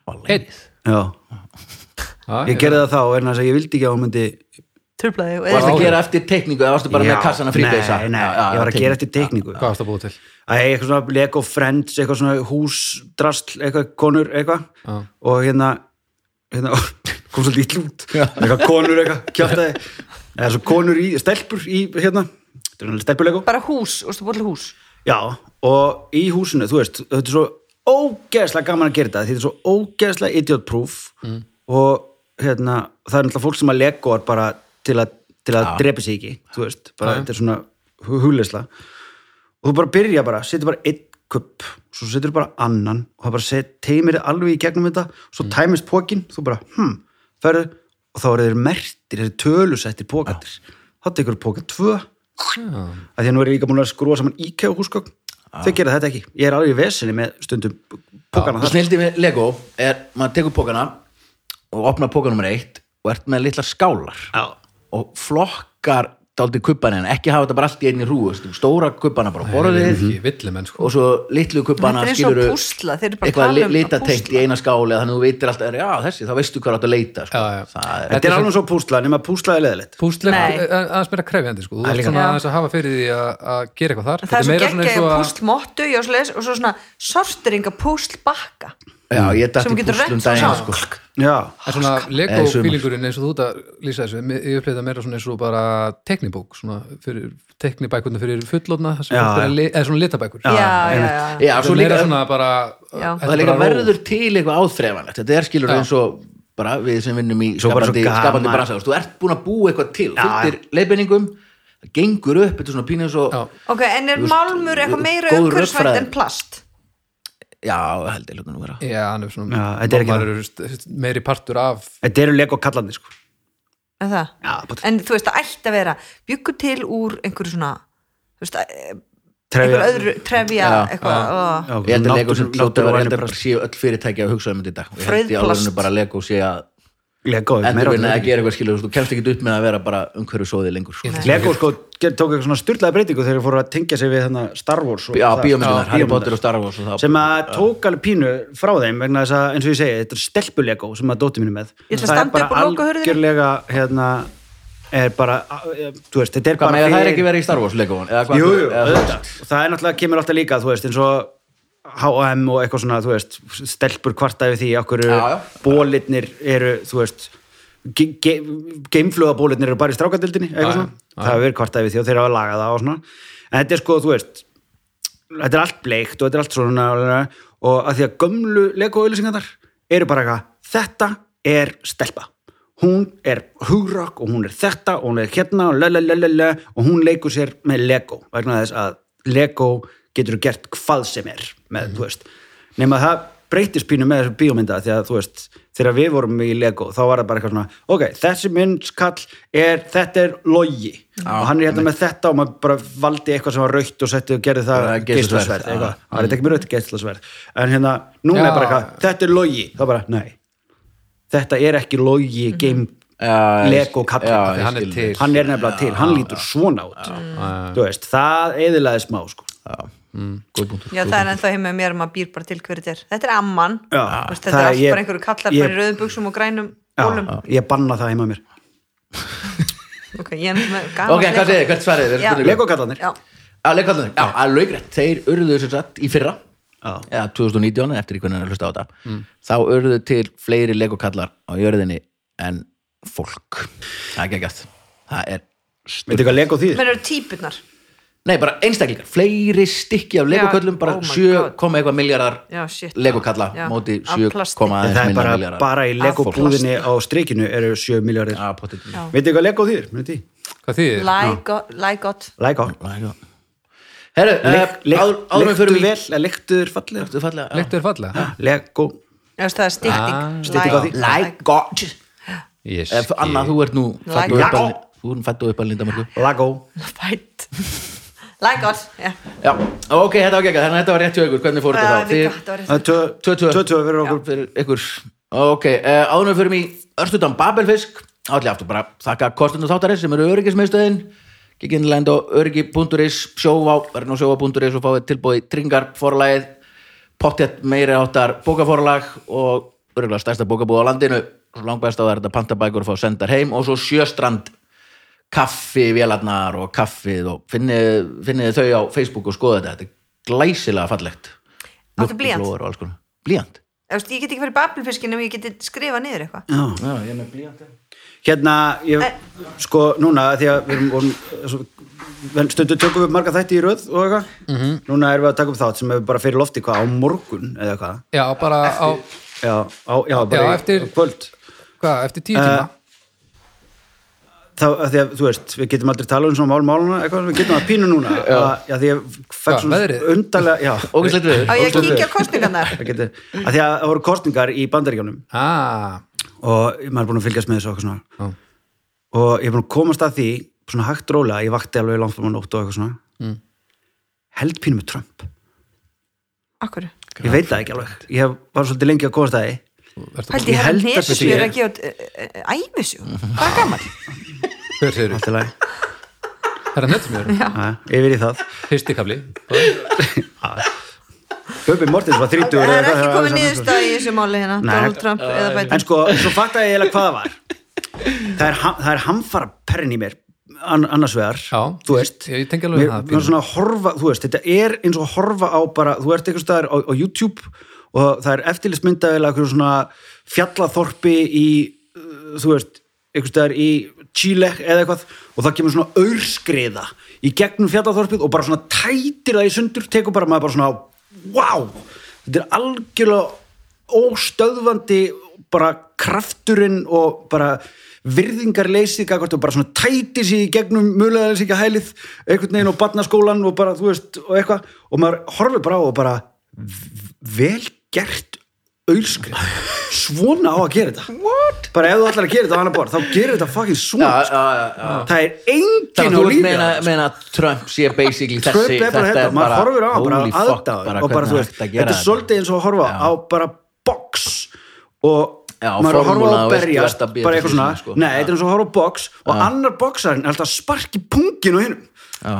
S1: gaman.
S2: já,
S3: Já,
S2: ég gerði það þá vegna þess að ég vildi ekki að hún myndi
S4: Trublaði og
S1: Varst
S4: eða
S1: að gera eftir teikningu eða varstu bara
S2: já,
S1: með kassana fríbeisa?
S2: nei, nei, ég var að gera eftir teikningu
S3: Hvað varst að búa til?
S2: Æ, eitthvað svona Lego Friends, eitthvað svona húsdrasl, eitthvað konur, eitthvað
S3: Já.
S2: og hérna, hérna kom svolítið ítl út, eitthvað konur eitthvað, kjáttaði, eða svo konur í stelpur í, hérna, þetta er náttúrulega stelpulego
S4: bara hús, og stu búið til hús
S2: já, og í húsinu, þú veist þetta er svo ógeðslega gaman að gera þetta þetta er svo ógeðslega idiot-proof og hérna það er náttúrulega fólk sem að legoar bara til að, til að drepa sig ekki, þú veist bara þetta er svona hugleisla og þú bara byrja bara, setur bara einn kupp, svo setur bara annan og það bara set, teimir þið alveg í gegnum þetta svo tæmist pókin, þú bara hm, ferðu, og þá eru þeir mertir þeir tölusettir pókandir þá tekur póka tvö að því að nú er ég líka búin að skrúa saman IKEA og húsgögn þau gera þetta ekki, ég er alveg í vesinni með stundum pókana
S1: Það
S2: þar
S1: snildi við Lego er, maður tekur pókana og opnar póka nummer eitt og ert með litla skálar
S2: Já.
S1: og flokkar dálítið kubbana en ekki hafa þetta bara allt í einni rúu veistu, stóra kubbana bara á borðið
S2: Mm.
S3: Ekki villi menn sko
S1: og svo litlu kubbana
S4: Þetta er eins og púsla, þeir eru bara að
S1: eitthvað
S4: tala um að
S1: litatengt
S4: púsla.
S1: í eina skáli þannig að þú veitir alltaf, já þessi, þá veistu hvað átt að leita sko.
S3: Já, já.
S1: Það er,
S2: þetta er alveg svo púsla, nema púsla er leðilegt
S3: Púslega
S4: Nei.
S3: aðeins meira krefjandi sko Þú ert
S2: líka.
S3: svona
S4: Já.
S3: aðeins að hafa fyrir því að að gera eitthvað þar
S4: það er
S3: Þetta
S4: svo
S3: meira svona eins
S4: geggjæði
S3: og að-
S4: púslmottu og svo svona sorteringa púslbakka
S1: já, ég
S4: sem
S1: dætti
S4: þú getur
S1: púslum
S4: rent svo
S1: daginn
S4: saman.
S1: sko.
S2: já,
S3: En svona
S1: Eða í sumar.
S3: Lego-fílingurinn eins og þú ert að lýsa þessu, mér- ég upplega það meira svona eins og bara teknibók, svona fyrir teknibækurna fyrir fullotna, sem
S2: Já,
S3: fólk er
S2: já.
S3: að li- eða svona litabækur.
S4: já, já,
S2: einmitt.
S4: já,
S1: já,
S3: Þetta
S1: svo
S3: er meira
S1: líka
S3: svona bara,
S4: Já.
S3: þetta
S1: og það
S3: er
S1: líka
S3: bara ró.
S1: verður til eitthvað áþreifanlegt þetta er skilur
S3: Já.
S1: eins og bara við sem vinnum í
S2: Svo bara svo
S1: skapandi,
S2: gaman.
S1: skapandi bransa þú ert búin að búa eitthvað til
S2: Já,
S1: fylgir leifinningum, það gengur upp þetta er svona pínu eins og
S3: Já.
S4: ok, en er
S1: Þú veist,
S4: málmur eitthvað meira
S1: góð
S4: umhverfisvænt
S1: rökfræði.
S4: en plast
S1: já, held ég hlutunum vera
S3: Já, hann er svona,
S2: Já, þetta er ekki
S3: maður eru st- meiri partur af,
S2: þetta eru lego kallandi sko
S4: en, það?
S2: Já, bara-
S4: en þú veist, það ætti að vera byggur til úr einhverju svona þú veist, eh,
S2: Trefja-
S4: einhverju öðru trefja
S1: Já,
S4: eitthvað og-
S2: Já,
S1: ég held að
S2: náttúru-
S1: Lego sem hérna hljóta
S2: náttúruvænu
S1: að vera
S2: plast.
S1: séu öll fyrirtæki að hugsa um þetta í dag og ég held í
S4: Frauðplast.
S1: alveg bara að Lego sé að
S2: lego, er meira
S1: endurvinna
S2: á
S1: að gera eitthvað skilur þú kemst ekki upp með að vera bara umhverju sóði lengur sko.
S2: því. lego sko ger- tók eitthvað svona styrlaði breytingu þegar þeir fóru að tengja sig við hana, Star Wars og
S1: já,
S2: það.
S1: bíómyndunar,
S2: Já,
S1: Harry
S2: bíómyndirnar.
S1: Potter og Star Wars og það-
S2: sem að tók alveg pínu frá þeim vegna þess að eins og ég segi, þetta er stelpulego sem að dóti mínu með
S4: Ég ætla að
S2: það er
S4: standa
S2: bara
S4: upp og loka hurðinni.
S2: algjörlega hérna, er bara eh, þú veist, þetta er
S1: hvað
S2: bara
S1: með það er ekki verið í Star Wars Legoan eða hvað
S2: Jú, jú,
S1: eða-
S2: auðvitað. Og það er náttúrulega kemur alltaf líka, þú veist, eins og H&M og eitthvað svona, þú veist, stelpur kvarta yfir því, okkur
S1: Já, já.
S2: bólitnir eru, þú veist, ge ge geimflugabólitnir eru bara í strákadildinni, eitthvað
S3: Já,
S2: svona. Það hefur verið kvarta yfir því og þeir hafa lagað það og svona. En þetta er sko, þú veist, þetta er allt bleikt og þetta er allt svona og að því að gömlu legoauðlýsingarnar eru bara eitthvað, þetta er stelpa hún er hugrakk og hún er þetta og hún er hérna og lalalala og hún leikur sér með lego vegna þess að lego getur gert hvað sem er með, þú veist nema það breytist pínu með þessu bíómynda því að þú veist, þegar við vorum í Lego þá var það bara eitthvað svona, ok, þessi myndskall er, þetta er logi og hann er hérna með þetta og maður bara valdi eitthvað sem var raukt og setti og gerði það
S1: Bara
S2: geislasverð,
S1: geislasverð, já.
S2: eitthvað, það er þetta ekki mjög rautt geislasverð en hérna, núna er bara
S3: Já.
S2: eitthvað þetta er logi, þá bara, nei þetta er ekki logi game
S1: Mhm. Já, ég-
S2: Lego kall
S1: já,
S3: Því
S1: ég
S3: hann er
S1: skil.
S3: til.
S2: hann er nefnilega til, hann lítur svona út þú veist, það eðilaði smá sko.
S4: Já, það er ennþá heim með mér um að býr bara til hverju þetta er. Þetta er amman,
S2: Já.
S4: Þú veist, þetta
S2: Það
S4: er
S2: er
S4: allt
S2: ég-
S4: bara einhverju kallar
S2: ég-
S4: bara í rauðum buksum og grænum
S2: já,
S4: bólum.
S2: ég banna það heima á mér
S4: Ok, ég er með gaman.
S1: ok, hvað segir, hvert svarið
S4: Já.
S1: er?
S2: Lego kallanir
S4: Já,
S1: að leikvallanir, já, að laugrætt þeir urðu sem sagt í fyrra
S2: Já.
S1: eða 2019, eftir í hvernig hann er að hlusta á þetta þá urðu til fleiri legokallar á jörðinni en fólk það er geggjast, það er
S2: veitu hvað Lego þýðir?
S4: menn eru típunar.
S1: nei bara einstaklingar, fleiri stykki af legoköllum, bara
S4: oh my
S1: 7
S4: God.
S1: koma eitthvað miljardar
S4: Já, shit.
S1: legokalla,
S4: Já.
S1: móti
S4: Af
S1: 7
S4: plasti.
S1: koma
S2: En það
S1: aðeins
S2: er
S1: minna
S2: bara,
S1: miljardar
S2: bara í Lego
S4: Af
S2: búðinni á streikinu eru 7 miljardir
S1: Já, pottet. Já.
S2: veitu hvað Lego þýr? Myndi?
S3: Hvað þýðir?
S4: Lægot
S2: Lego
S1: Oh Herru, eh, áður áður en við
S2: Lektu
S1: förum í
S2: vel, eða lektuður fallega
S1: Þú fallega, já.
S3: Lektu er fallega?
S2: Lego
S4: Það er
S3: Ah.
S4: stytting
S2: Stytting á því.
S1: Lægot
S3: Yes.
S1: Eh, Anna, þú ert nú
S4: Like
S1: fæddu upp
S2: God.
S1: að- Þú ert fættu upp að lindamörku
S2: Lego
S4: Fætt Lægot
S1: Já, ok, þetta var gegga, þannig að þetta var rétt hjá ykkur Hvernig fór
S4: Ah,
S1: þetta þá? Þið-
S4: Þetta
S1: 2-2.
S2: 2-2 verður okkur
S1: fyrir ykkur ok, uh, áður en við fyrir mig örstutan Babelfisk, allir aftur bara þakka kostinu þáttarins sem eru öryggismiðstöðin giginland og öryggi.is sjóvá, verðin á sjóvá.is og fáið tilbúið tringarforlægið pottet meiri áttar bókaforlag og örgulega stærsta bókabúð á landinu langbæst á það er þetta pantabækur og fá sendar heim og svo sjöstrand kaffi vélarnar og kaffið og finnið, finnið þau á Facebook og skoða þetta, þetta er glæsilega fallegt
S4: Áttu blýant?
S1: Mjólkurflóar og alls konar. blíjant
S4: Ég get ekki farið babelfiskin ef ég geti skrifað niður eitthvað
S2: Já.
S1: Já, ég er með blíjandi
S2: Hérna, ég,
S4: Eh.
S2: sko núna af Því að við erum vorum- svo- vel, Stundu tökum við marga þætti í röð og eitthvað Núna erum við að taka upp þátt sem er bara fyrir lofti hvað á morgun eða eitthvað
S3: Já, bara á,
S2: Já, á, já, bara
S3: Já,
S2: í-
S3: eftir-
S2: á kvöld
S3: hvað, eftir tíu tíma?
S2: þá, að því að, þú veist, við getum aldrei talað um svona mál máluna, eitthvað, við getum að pínu núna já, að því að
S3: Já,
S2: fæk svona
S3: veðrið.
S2: undarlega, já
S1: Ógeðslegt veður.
S4: Á ég að
S2: Ógeðslegt
S4: kíkja
S2: veður.
S4: kostningarnar
S2: Það getur- að því að það voru kostningar í bandaríkjónum
S3: Ah,
S2: og maður er búin að fylgjast með þessu og eitthvað svona
S3: Já.
S2: og ég er búin að komast að því svona hægt rólega, ég vakti alveg langt um að nótt og eitthvað svona mm. held pínu með Trump
S4: Akkur
S2: ég veit það ekki alveg, ég var svolítið lengi að komast að því
S3: ertu
S4: Hældi
S2: Ég
S4: ég hefði
S2: held að
S4: nesur
S2: sé-
S4: Ég er að eh, gefa æmisjú Hvað er gammal?
S3: Hver segir þú?
S2: allt í lagi,
S3: Það er að nöttum mér.
S2: Jæja, yfir í það
S3: Fyrsti kafli.
S2: Böbbi Mortins var 30
S4: Það
S2: eða
S4: er
S2: eitthvað,
S4: ekki
S2: þegar
S4: komið
S2: hann-
S4: niðurstað í þessu máli hérna
S2: Nei.
S4: Donald Trump eða
S2: En
S4: Biden
S2: sko, svo fattaði ég eiginlega hvað það var Það er, ha- það er hamfara perrin í mér an, annars vegar,
S3: Já,
S2: þú veist
S3: ég- ég tengi alveg við það,
S2: mér,
S3: pínu.
S2: svona að horfa, þú veist, þetta er eins og að horfa á bara, þú ert einhvers staðar á, á YouTube og það er eftirlitsmyndaðilega einhverjum svona fjallaþorpi í, uh, þú veist einhvers staðar í Chile eða eitthvað og það kemur svona aurskriða í gegnum fjallaþorpið og bara svona tætir það í sundur, tekur bara maður bara svona wow, þetta er algjörlega óstöðvandi bara krafturinn og bara virðingarleysið gagvart og bara svona tæti sig í gegnum mjögulega hælið einhvern veginn og barnaskólan og bara þú veist og eitthvað og maður horfir bara á og bara v- vel gert auðskrið svona á að gera þetta What? bara ef þú ætlar að gera þetta á annar borð þá gerir þetta fucking svona
S1: Já,
S2: sko.
S1: já, já, já.
S3: Ah.
S2: það er engin
S1: Þannig
S2: á
S1: að þú
S2: lífi
S1: meina,
S2: þarna, sko.
S1: meina að Trump sé basically
S2: Trump
S1: þessi
S2: er bara þetta, maður horfir á hann bara
S1: holy fuck,
S2: aðdáð og
S1: hvernig
S2: bara
S1: er
S2: þú veist,
S1: hægt að gera
S2: þetta er svolítið eins og að horfa
S1: Já.
S2: á bara box og
S1: Já,
S2: maður er að horfa á
S1: formúla
S2: að
S1: og veist,
S2: berjast
S1: þú ert að bíða
S2: bara
S1: til
S2: eitthvað svona,
S1: síðan, sko.
S2: nei,
S1: Já.
S2: þetta er eins og að horfa á box og annar boxarinn er alltaf að sparki pungin og hinnum
S1: Já,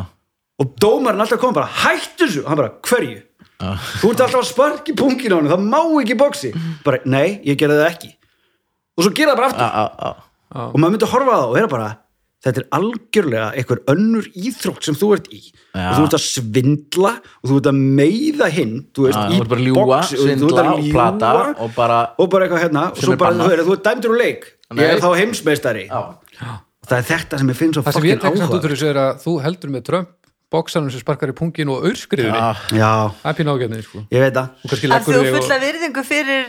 S2: og dómarinn alltaf kom bara, hættu þessu hann bara, hverju? þú ert alltaf að sparki pungin á hennu, það má ekki í boxi bara, nei, ég gerði það ekki og svo gera það bara aftur
S1: já, já, já.
S2: og maður myndi að horfa á það og vera bara þetta er algjörlega einhver önnur íþrótt sem þú ert í
S1: Já.
S2: og þú ert að svindla og þú ert að meiða hinn þú veist,
S1: Já,
S2: í
S1: þú ert bara að ljúga,
S2: boxi, og þú ert
S1: svindla
S2: að
S1: og
S2: ljúga
S1: plata og bara-
S2: og bara eitthvað hérna og
S1: Sem
S2: svo
S1: er
S2: bara,
S1: bannað.
S2: þú veist, þú ert dæmdur úr leik
S1: Nei.
S2: ég er þá heimsmeistari
S1: Já.
S2: það er þetta sem ég finn svo
S3: Það sem ég
S2: fucking
S3: tek samt út
S2: áhuga
S3: fyrir þessu er að þú heldur með Trump, bóksanum sem sparkar í pungin og aurskriðinni.
S1: Já.
S2: já,
S3: Það er pín ágætnið, sko.
S2: ég veit það
S3: Og kannski
S4: Að
S3: leggur
S4: þú
S3: þig og-
S4: fulla virðingu fyrir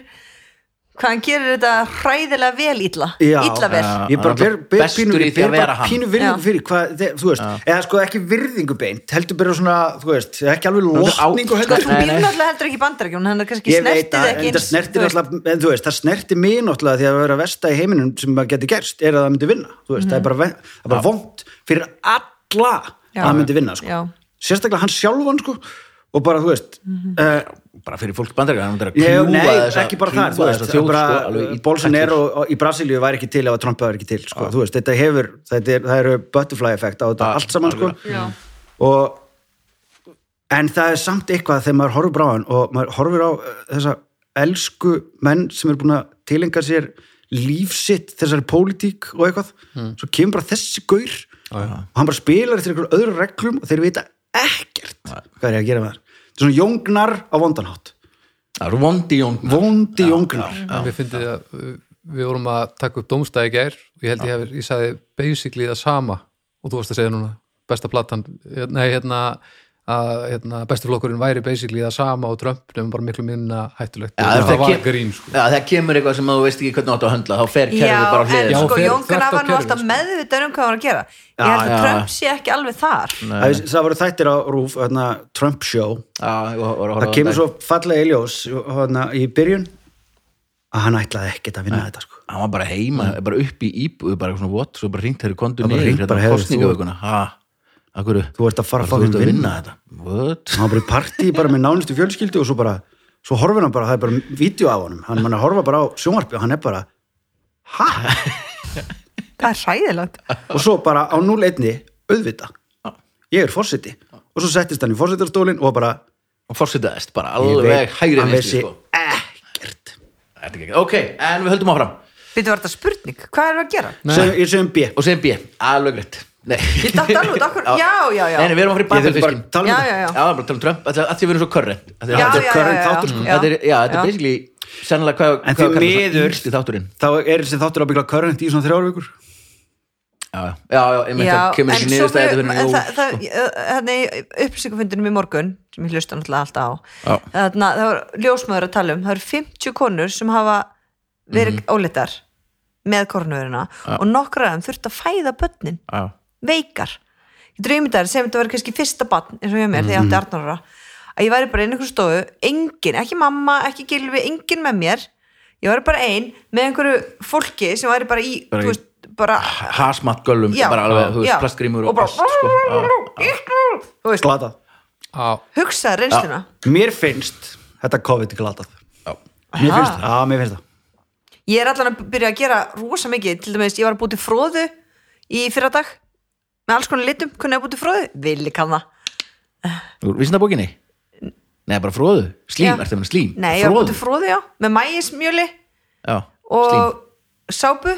S4: hvað hann gerir þetta hræðilega vel illa
S2: Já.
S4: Illa vel
S1: Já.
S2: ég bara
S1: hann er
S2: ber,
S1: alltaf
S2: ber
S1: bestur
S2: pínu,
S1: í
S2: ég
S1: því að
S2: ber bara
S1: vera hann.
S2: pínu virðingu
S4: Já.
S2: fyrir hvað, þe- þú veist, eða sko ekki virðingu beint, heldur bara svona þú veist, ekki alveg
S1: Þetta á-
S2: lotningu
S4: Sko,
S2: hérna. heldur
S4: þú
S1: Nei,
S4: býr
S1: nei.
S4: náttúrulega heldur ekki í bandarækjum hann er kannski
S2: ég veit
S4: snertið
S2: það,
S4: ekki
S2: en það
S4: eins,
S2: snertir
S4: þú veist.
S2: náttúrulega en þú veist, það snertir mig náttúrulega því að vera versta í heiminum sem maður getur gerst er að það myndi vinna, þú veist, það er bara, ve- það er bara vond fyrir alla
S4: Mhm. Já.
S2: að það myndi vinna, sko,
S4: Já.
S2: sérstaklega hann sjálfan sko, og bara, þú veist
S4: Mhm.
S2: eh,
S1: Bara fyrir fólk bandaríkar, hann er að
S2: ég,
S1: kljúfa
S2: nei,
S1: þessa-
S2: ekki bara
S1: kljúfa
S2: það, þú veist
S1: þessa
S2: það er
S1: þjóð, sko,
S2: bara, uh,
S1: alveg í
S2: Bolsonaro og- í Brasilíu væri ekki til ef að Trump væri ekki til, sko, þú veist, þetta hefur þetta er, það eru butterfly effekt á þetta
S1: Já,
S2: allt saman, sko,
S4: Já.
S2: og en það er samt eitthvað þegar maður horfir á hann og maður horfir á eh, þessa elsku menn sem er búin að tilenga sér lífsitt þessari pólitík og eitthvað
S1: Hmm.
S2: svo kemur bara þessi gaur og hann bara spilar eftir einhverjum öðru reglum og þeir vita ekkert hvað er ég að gera með það þetta er svona jóngnar á vondanhátt
S1: Það eru vondi jón
S2: vondi jóngnar
S3: En við fyndið að uh, við vorum að taka upp dómstæði gær og ég held ég hef, ég sagði basically það sama og þú varst að segja núna besta platan nei, hérna, að, hérna bestu flokkurinn væri basically það sama og Trump nefnum bara miklu minna hættulegt
S1: Já,
S3: og
S1: þegar
S3: það var
S1: kem-
S3: grín sko.
S1: Já, þegar kemur eitthvað sem þú veist ekki hvernig þú átt að höndla þá fer
S4: Já,
S1: kerfið bara á
S4: en
S1: hliðina.
S3: Já,
S4: sko
S3: fer
S4: Jón
S3: þvert á
S4: Gunnar var nú
S3: kerfið,
S4: alltaf
S3: sko.
S4: meðvitaður um hvað hann var að gera Ég
S2: Já,
S4: held
S1: já.
S4: að Trump sé ekki alveg þar
S2: Það, það voru þættir á Rúf, hérna, Trump Show
S1: Já, ég var- var að horfa á
S2: það kemur
S1: þetta.
S2: svo fallega í ljós hérna, í byrjun að hann ætlaði ekkert að vinna þetta sko.
S1: Hann var bara heima, bara upp í íbúð bara svona what, svo bara ringt þeirri kondu
S2: Það bara
S1: niður
S2: hringt
S1: hérna
S2: bara, heyrðu,
S1: kosningavikuna. Ha, af hverju?
S2: þú ert að
S1: Bara
S2: fara að fá
S1: ert
S2: hérna
S1: að
S2: vinna
S1: vinna þetta. What?
S2: hann var bara í partí bara með nánustu fjölskyldu og svo bara, svo horfir hann bara það er bara vídeo af honum, hann mann að horfa bara á sjónvarpi og hann er bara, ha?
S4: Það er hræðilegt
S2: og svo bara á 0-1 auðvita, ég er fórseti og svo settist hann í fórsetarstólin og bara
S1: Og fórsetaðist bara
S2: ég
S1: alveg hægri
S2: hann
S1: vinstri,
S2: vissi
S1: sko.
S2: ekkert
S1: Þetta er ekki- Ok, en við höldum áfram.
S4: Býttu var þetta spurning, hvað erum við að gera?
S2: Sem- ég segjum B
S1: Og sem B, alveg greitt. Nei.
S4: Ég datt alveg út, af hverju- já, já, já.
S1: Nei, nei, við erum að fara í
S2: Ég þurfti bara
S1: bakfjöldfiskin.
S2: að tala um
S4: Já,
S2: þetta.
S4: já, já.
S1: Já, bara tala um Trump, að því við erum svo körri.
S4: Já, já, já, já,
S2: current
S4: já,
S2: þáttur, sko.
S4: já.
S1: Þetta er, já, þetta er basically sennilega hvað hvað
S2: En því
S1: kallast það,
S2: miður-
S1: yngsti þátturinn
S2: þá er þessi þáttur ábyggla körrent í svona þrjár vikur
S1: Já, já, já, já, ég meint það kemur hérna ekki niður stæði fyrir
S4: en
S1: nú
S4: það, það, þannig upplýsingafundinum í morgun sem ég hlusta náttúrulega alltaf á
S1: Já.
S4: þannig að það var ljósmaður að tala um það eru 50 konur sem hafa verið
S1: Mhm.
S4: ólitar með kornveruna og nokkra af þeim þurft að fæða börnin
S1: Já,
S4: veikar ég drými þær sem þetta var kannski fyrsta barn eins og ég
S1: Mhm.
S4: mér þegar ég átti 18 ára að ég væri bara inn í einhver stofu, engin ekki mamma, ekki gilfi, engin með mér ég væri bara ein með einhverju fólki sem væri bara í
S1: Bara í-
S4: bara, veist, bara
S1: hasmat göllum,
S4: Já.
S1: bara alveg, þú
S4: Já.
S1: veist, plastgrímur
S4: og bara
S1: allt, sko. Já.
S4: þú veist,
S2: glata
S3: á,
S4: hugsaði reynsluna
S2: mér finnst þetta COVID glatað mér
S4: Aha.
S2: finnst, það, já, mér finnst það
S4: ég er allan að byrja að gera rosa mikið til dæmis ég var að búti fróðu í fyrradag með alls konar litum, kunni að búti fróðu villi kann það,
S1: Úr vísindabókinni? Nei, bara fróðu,
S4: Já.
S1: slím, ertu að meina slím
S4: nei ég var að búti fróðu já með mægismjöli
S1: Já,
S4: og
S1: slím
S4: sápu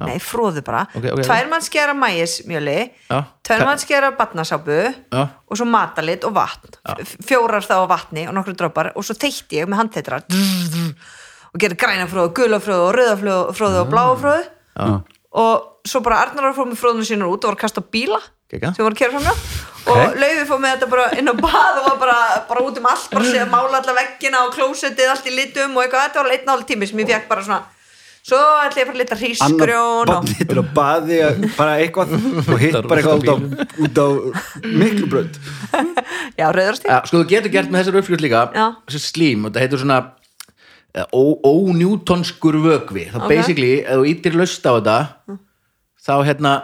S4: nei fróðu bara,
S1: Ok, ok, ok.
S4: tvær mann skera mægismjöli
S1: Já.
S4: tvær mann skera batnasápu
S1: Já.
S4: og svo matalit og vatn F- fjórar þá á vatni og nokkru droppar og svo þeytti ég með handteitra og gerði græna fróðu, gula fróðu og rauða fróðu,
S1: Mm.
S4: fróðu og bláa fróðu og svo bara Arnar var fór með fróðunum sínur út og var að kasta á bíla
S1: Geggjað.
S4: sem voru að kera framjá og
S2: Ok.
S4: Laufi fór með þetta bara inn á bað og var bara, bara út um allt bara að segja mála alla veggina og klósettið allt í litum og eitthvað, þetta var alveg einn náli tími sem ég fekk bara svona svo ætla ég bara að lita hrísgrjón og...
S2: barnið til að baði að- bara eitthvað og hitt
S3: Þetta er
S2: bara eitthvað út á,
S3: rosa
S2: út á miklu brönd
S4: já, rauðrasti
S1: Já, sko þú getur gert með þessar uppskjöld líka
S4: Já.
S1: þessi slím, og þetta heitur svona eh, ó- ónjútonskur vökvi þá
S4: Ok. Mm.
S1: basically, ef þú ítir löst á þetta þá hérna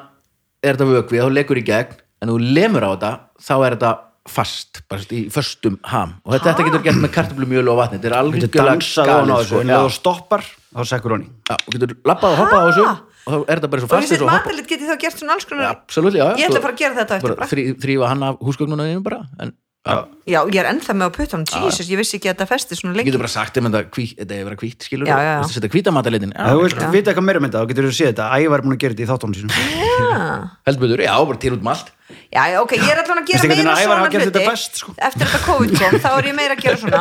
S1: er þetta vökvi, þá lekur í gegn en ef þú lemur á þetta, þá er þetta fast, bara sérst, í föstum ham og þetta, þetta getur gert með kartöflumjölu og vatni þetta er
S2: þetta
S1: algjörlega
S2: dansaði hann á
S1: galið,
S2: þessu
S1: sko.
S2: en
S1: Já,
S2: ef þú stoppar þá sekkur hann í
S1: já, og getur labbað og hoppað á þessu og þá er þetta bara svo
S4: og ég
S1: fast eins
S4: sér
S1: og hoppa
S4: matalit get ég þá gert svona alls konar
S1: Absolutt, já, já,
S4: ég ætla
S1: svo-
S4: bara að gera þetta á eftir
S1: bara
S4: bara.
S1: þrý- þrýfa hann af húsgögnunum þínum bara en já,
S4: já, ég er ennþá með á puttanum, Jesus, ég vissi ekki að þetta festi svona
S1: ég
S4: lengi
S1: getur bara sagt um þetta, hví, þetta er vera hvít skilur,
S4: Já, já, já.
S1: þetta er hvítamatalitin
S2: ef þú vilt vita eitthvað meira um þetta þá getur þú séð þetta ævar búin að gera þetta í þáttunum sínum
S1: heldur betur, já, bara til út um allt
S4: já, já, ok, ég er allan að
S2: Veistu
S4: gera
S2: hvernig
S4: meira
S2: Ævar
S4: svona
S2: hafa gert
S4: hluti
S2: þetta best, sko?
S4: eftir þetta COVID kom, þá er ég meira að gera svona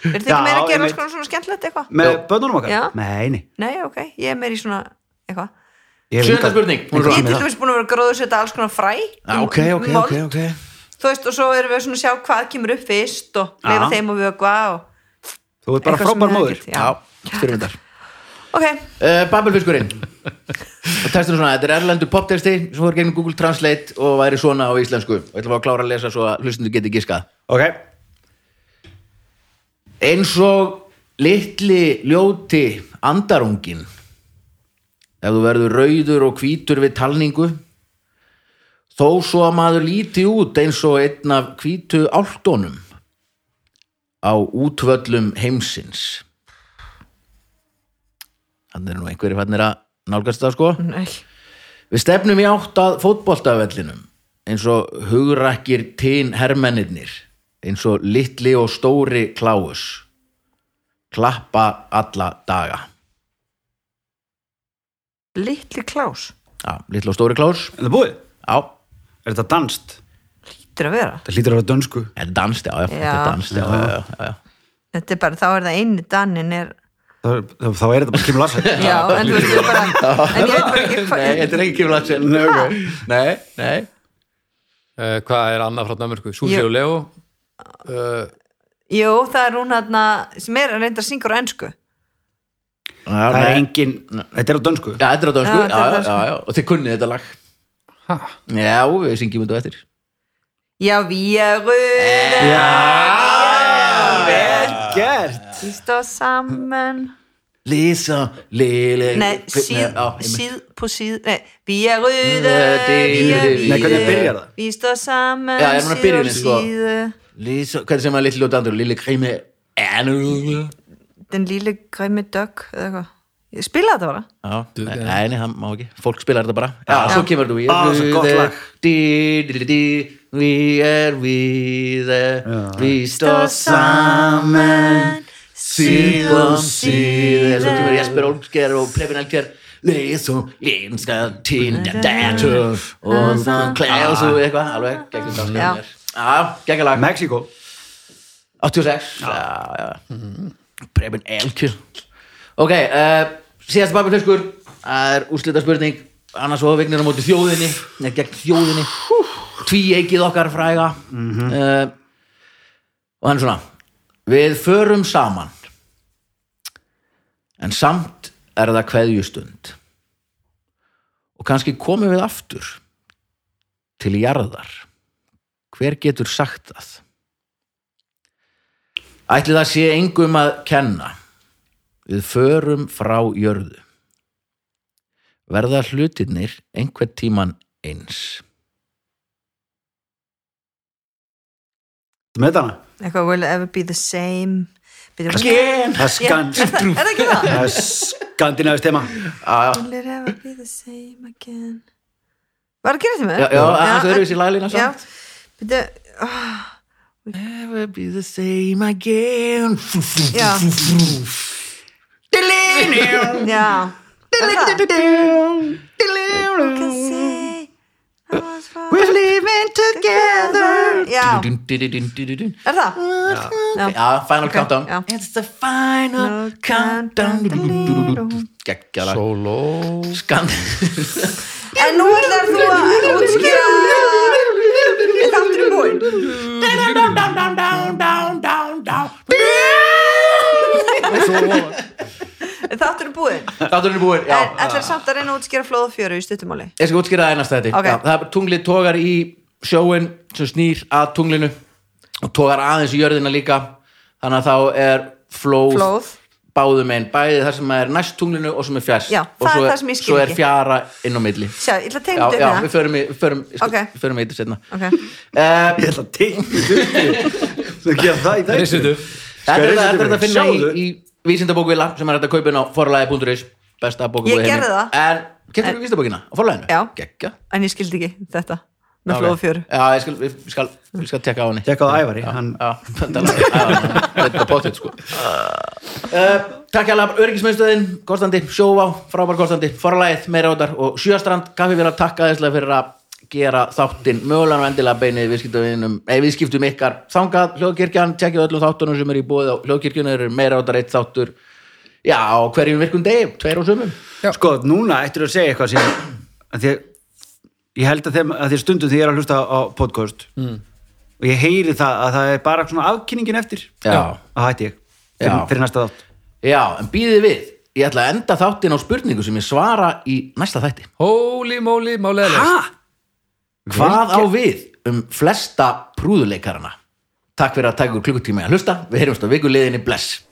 S4: er þetta
S2: Já,
S4: ekki meira að gera alls
S2: einmitt.
S4: konar svona skemmtilegt eitthvað?
S2: með
S1: Já.
S2: börnunum
S4: Já.
S2: okkar? nei, nei
S4: nei, ok, ég er meira í svona eitthvað
S2: Ég hef
S1: Sjöunda
S2: engan-
S1: spurning, hún er
S4: Ég
S2: engan
S4: er
S2: tíma í
S4: til
S2: það.
S4: dæmis búin að vera að gróðsetta alls konar fræ
S1: Já,
S4: um
S1: ok, ok,
S4: mold.
S1: ok, ok
S4: Þú veist, og svo erum við svona að sjá hvað kemur upp fyrst og leifa
S2: Já.
S4: þeim og vögva og
S2: þú ert bara
S4: eitthvað sem
S2: frábær
S4: við hefum
S2: móður
S4: gert,
S1: Já, styrmyndar
S4: Já, ok,
S1: uh, Babelfiskurinn Og textur svona, þetta er erlendur poptexti sem voru gegnum Google Translate og væri svona á íslensku og ég ætla að fá að klára að lesa svo að hlustundu geti giskað
S2: ok,
S1: Eins og litli ljóti andarungin ef þú verður rauður og hvítur við talningu þó svo að maður líti út eins og einn af hvítu áltónum á útvöllum heimsins Þannig er nú einhverjir fannir að nálgast það sko
S4: nei
S1: Við stefnum í átt að fótboltavellinum eins og hugrakkir tín hermennirnir eins og litli og stóri kláus klappa alla daga
S4: Littli Klás,
S1: Já, litli og stóri kláus
S2: er það búið?
S1: Já,
S2: er þetta danst?
S4: lítur að vera
S2: það hlýtur að vera dönsku
S1: þetta er danst, já, já,
S4: Já.
S1: þetta er danst já, já, já, já.
S4: Þetta er bara, þá er það einu danin er
S2: þá, þá, þá er þetta bara Kim Larsen
S4: Já, en þú veist, ég bara en ég veit bara ekki hvað
S1: Nei, þetta er ekki Kim Larsen Nei, okay. nei, nei.
S3: Uh, hvað er annað frá Danmörku? Súsi
S4: Ég-
S3: og Leo uh,
S4: Jú, það er hún hérna sem er að reynda að syngur á ennsku
S1: Já,
S2: það er
S1: nei.
S2: engin, þetta er á dönsku
S1: Já, þetta er á dönsku,
S4: Já, þetta er á
S1: já, já,
S4: dönsku.
S1: já, já, og þið kunnið þetta lag
S3: ha,
S1: Já, við syngjum þetta á eftir
S4: Já, við erum
S2: vel gert
S4: Við stóð saman
S1: Lisa, Lili
S4: Nei, síð, síð på síð Nei, við erum
S2: Nei, hvernig byrjar það?
S4: Við stóð saman
S1: Já, er hún að byrja henni, sko?
S4: síð
S1: Lisa, hvernig sem að litli ljóta andur Lili Kræmi Anu
S4: Den lille grimme dök eða eitthvað. Ég spilaði þetta bara
S1: Já, nei, nei, nei, það má ekki Fólk spilar þetta bara Já, svo kemur þú
S2: Á, svo gott lag.
S1: We are we the We stóð
S4: saman
S1: síðan síðan Svo kemur Jesper Olmsker og Prefin Elker Leis og linska tinda datur Og það klæða og svo eitthvað Alveg, gegnum danskar
S4: Já.
S1: mér. Já, geggjala
S2: Mexiko,
S1: 86 Já, já Preben Elkjur Ok, uh, síðast Babi Flöskur Það er úrslita spurning Annars voru vignir á móti þjóðinni Nei, gegn þjóðinni Tví eikið okkar fræga mm Og hann er svona Við förum saman En samt er það kveðjustund Og kannski komum við aftur Til jarðar Hver getur sagt það? Ætli það sé engum að kenna. Við förum frá jörðu. Verða hlutirnir einhvern tíman eins.
S2: þú með hana
S4: Eitthvað will ever be the same Byrju,
S2: það er skan-
S4: Er það ekki það?
S2: það er skandinavist tema
S4: Will it ever be the same again Var að gera þetta með?
S1: Já, já, aðeins öðru þessi laglína
S4: Já,
S1: samt.
S4: byrju
S1: Never be the same again.
S4: Já, já Er það? You can say I was wrong.
S1: We're living together.
S4: Já, er það? Já.
S1: Já, final countdown.
S4: já.
S1: It's the final countdown. Geggjala.
S3: Solo
S1: Skand.
S4: En nú ætlar þú að útskýra Er þáttur í búinn?
S1: down, down, down, down, down, down, down.
S4: Er þáttur í búinn?
S1: Þátturinn er búinn, já.
S4: En ætlar samt að reyna að útskýra flóð og fjöru í stuttumáli
S1: Ég skal útskýra það einast þetta.
S4: Ok.
S1: Já, það er tunglið tógar í sjóin sem snýr að tunglinu og tógar aðeins í jörðina líka. Þannig að þá er flóð,
S4: Flóð.
S1: báðum einn, bæði það sem er næst tunglinu og sem er fjærst.
S4: Já,
S1: og
S4: það
S1: svo
S4: er það sem ég skil
S1: Svo er
S4: ekki.
S1: fjara inn á milli.
S4: Sjá, ég ætla að tegna
S1: Já, já,
S4: þetta upp
S1: við förum í, við förum,
S4: Ok.
S1: við förum í þetta setna.
S4: með það Ok,
S1: Uh,
S2: ég ætla að teikna þetta upp. þú gera það í
S3: Risitu
S2: dag
S1: þetta er
S2: Skal
S1: það þetta er
S2: ég lesa
S1: þetta að finna
S2: þetta fyrir?
S1: í, í vísindabókvila sem er þetta kaupin á forlæði.is besta bókvila
S4: Ég gerði það.
S1: En, kemur við vísindabókina á forlæðinu?
S4: Já.
S1: Gekka.
S4: en ég skildi ekki þetta með flóð og fjöru
S1: Já, ég skal, ég skal, ég skal tekka á henni
S2: tjekka á ævari hann
S1: Já, þetta er alveg- já, þetta er potið sko uh, Takk hérlega, öryggismiðstöðin Kostandi, sjóvá, frábær Kostandi Forlægið, meira átar og sjöstrand Kaffi vera takk aðeinslega fyrir að gera þáttinn mögulega og endilega beinið viðskiptum, eh, viðskiptum ykkar þangað hljóðkirkjan, tjekkið á öllum þáttunum sem er í búið á hljóðkirkjun eru meira átar eitt þáttur já, á hverjum virkum degi, tveir og sumum
S3: Já.
S2: sko, núna ættir að segja eitthvað sem að því að ég held að þeim að því að stundum því ég er að hlusta á podcast
S1: Mm.
S2: og ég heyri það að það er bara svona afkynningin eftir
S1: Já.
S2: að hætti ég fyrir,
S1: Já.
S2: fyrir næsta þátt
S1: Já, en býðið við Ég ætla að enda þáttinn á spurningu sem ég svara í næsta þætti
S3: Holy moly, málega
S2: ha?
S1: Hvað á við um flesta prúðuleikarana? Takk fyrir að taka ykkur klukkutíma í að hlusta Við heyrjumst á vikuleiðinni bless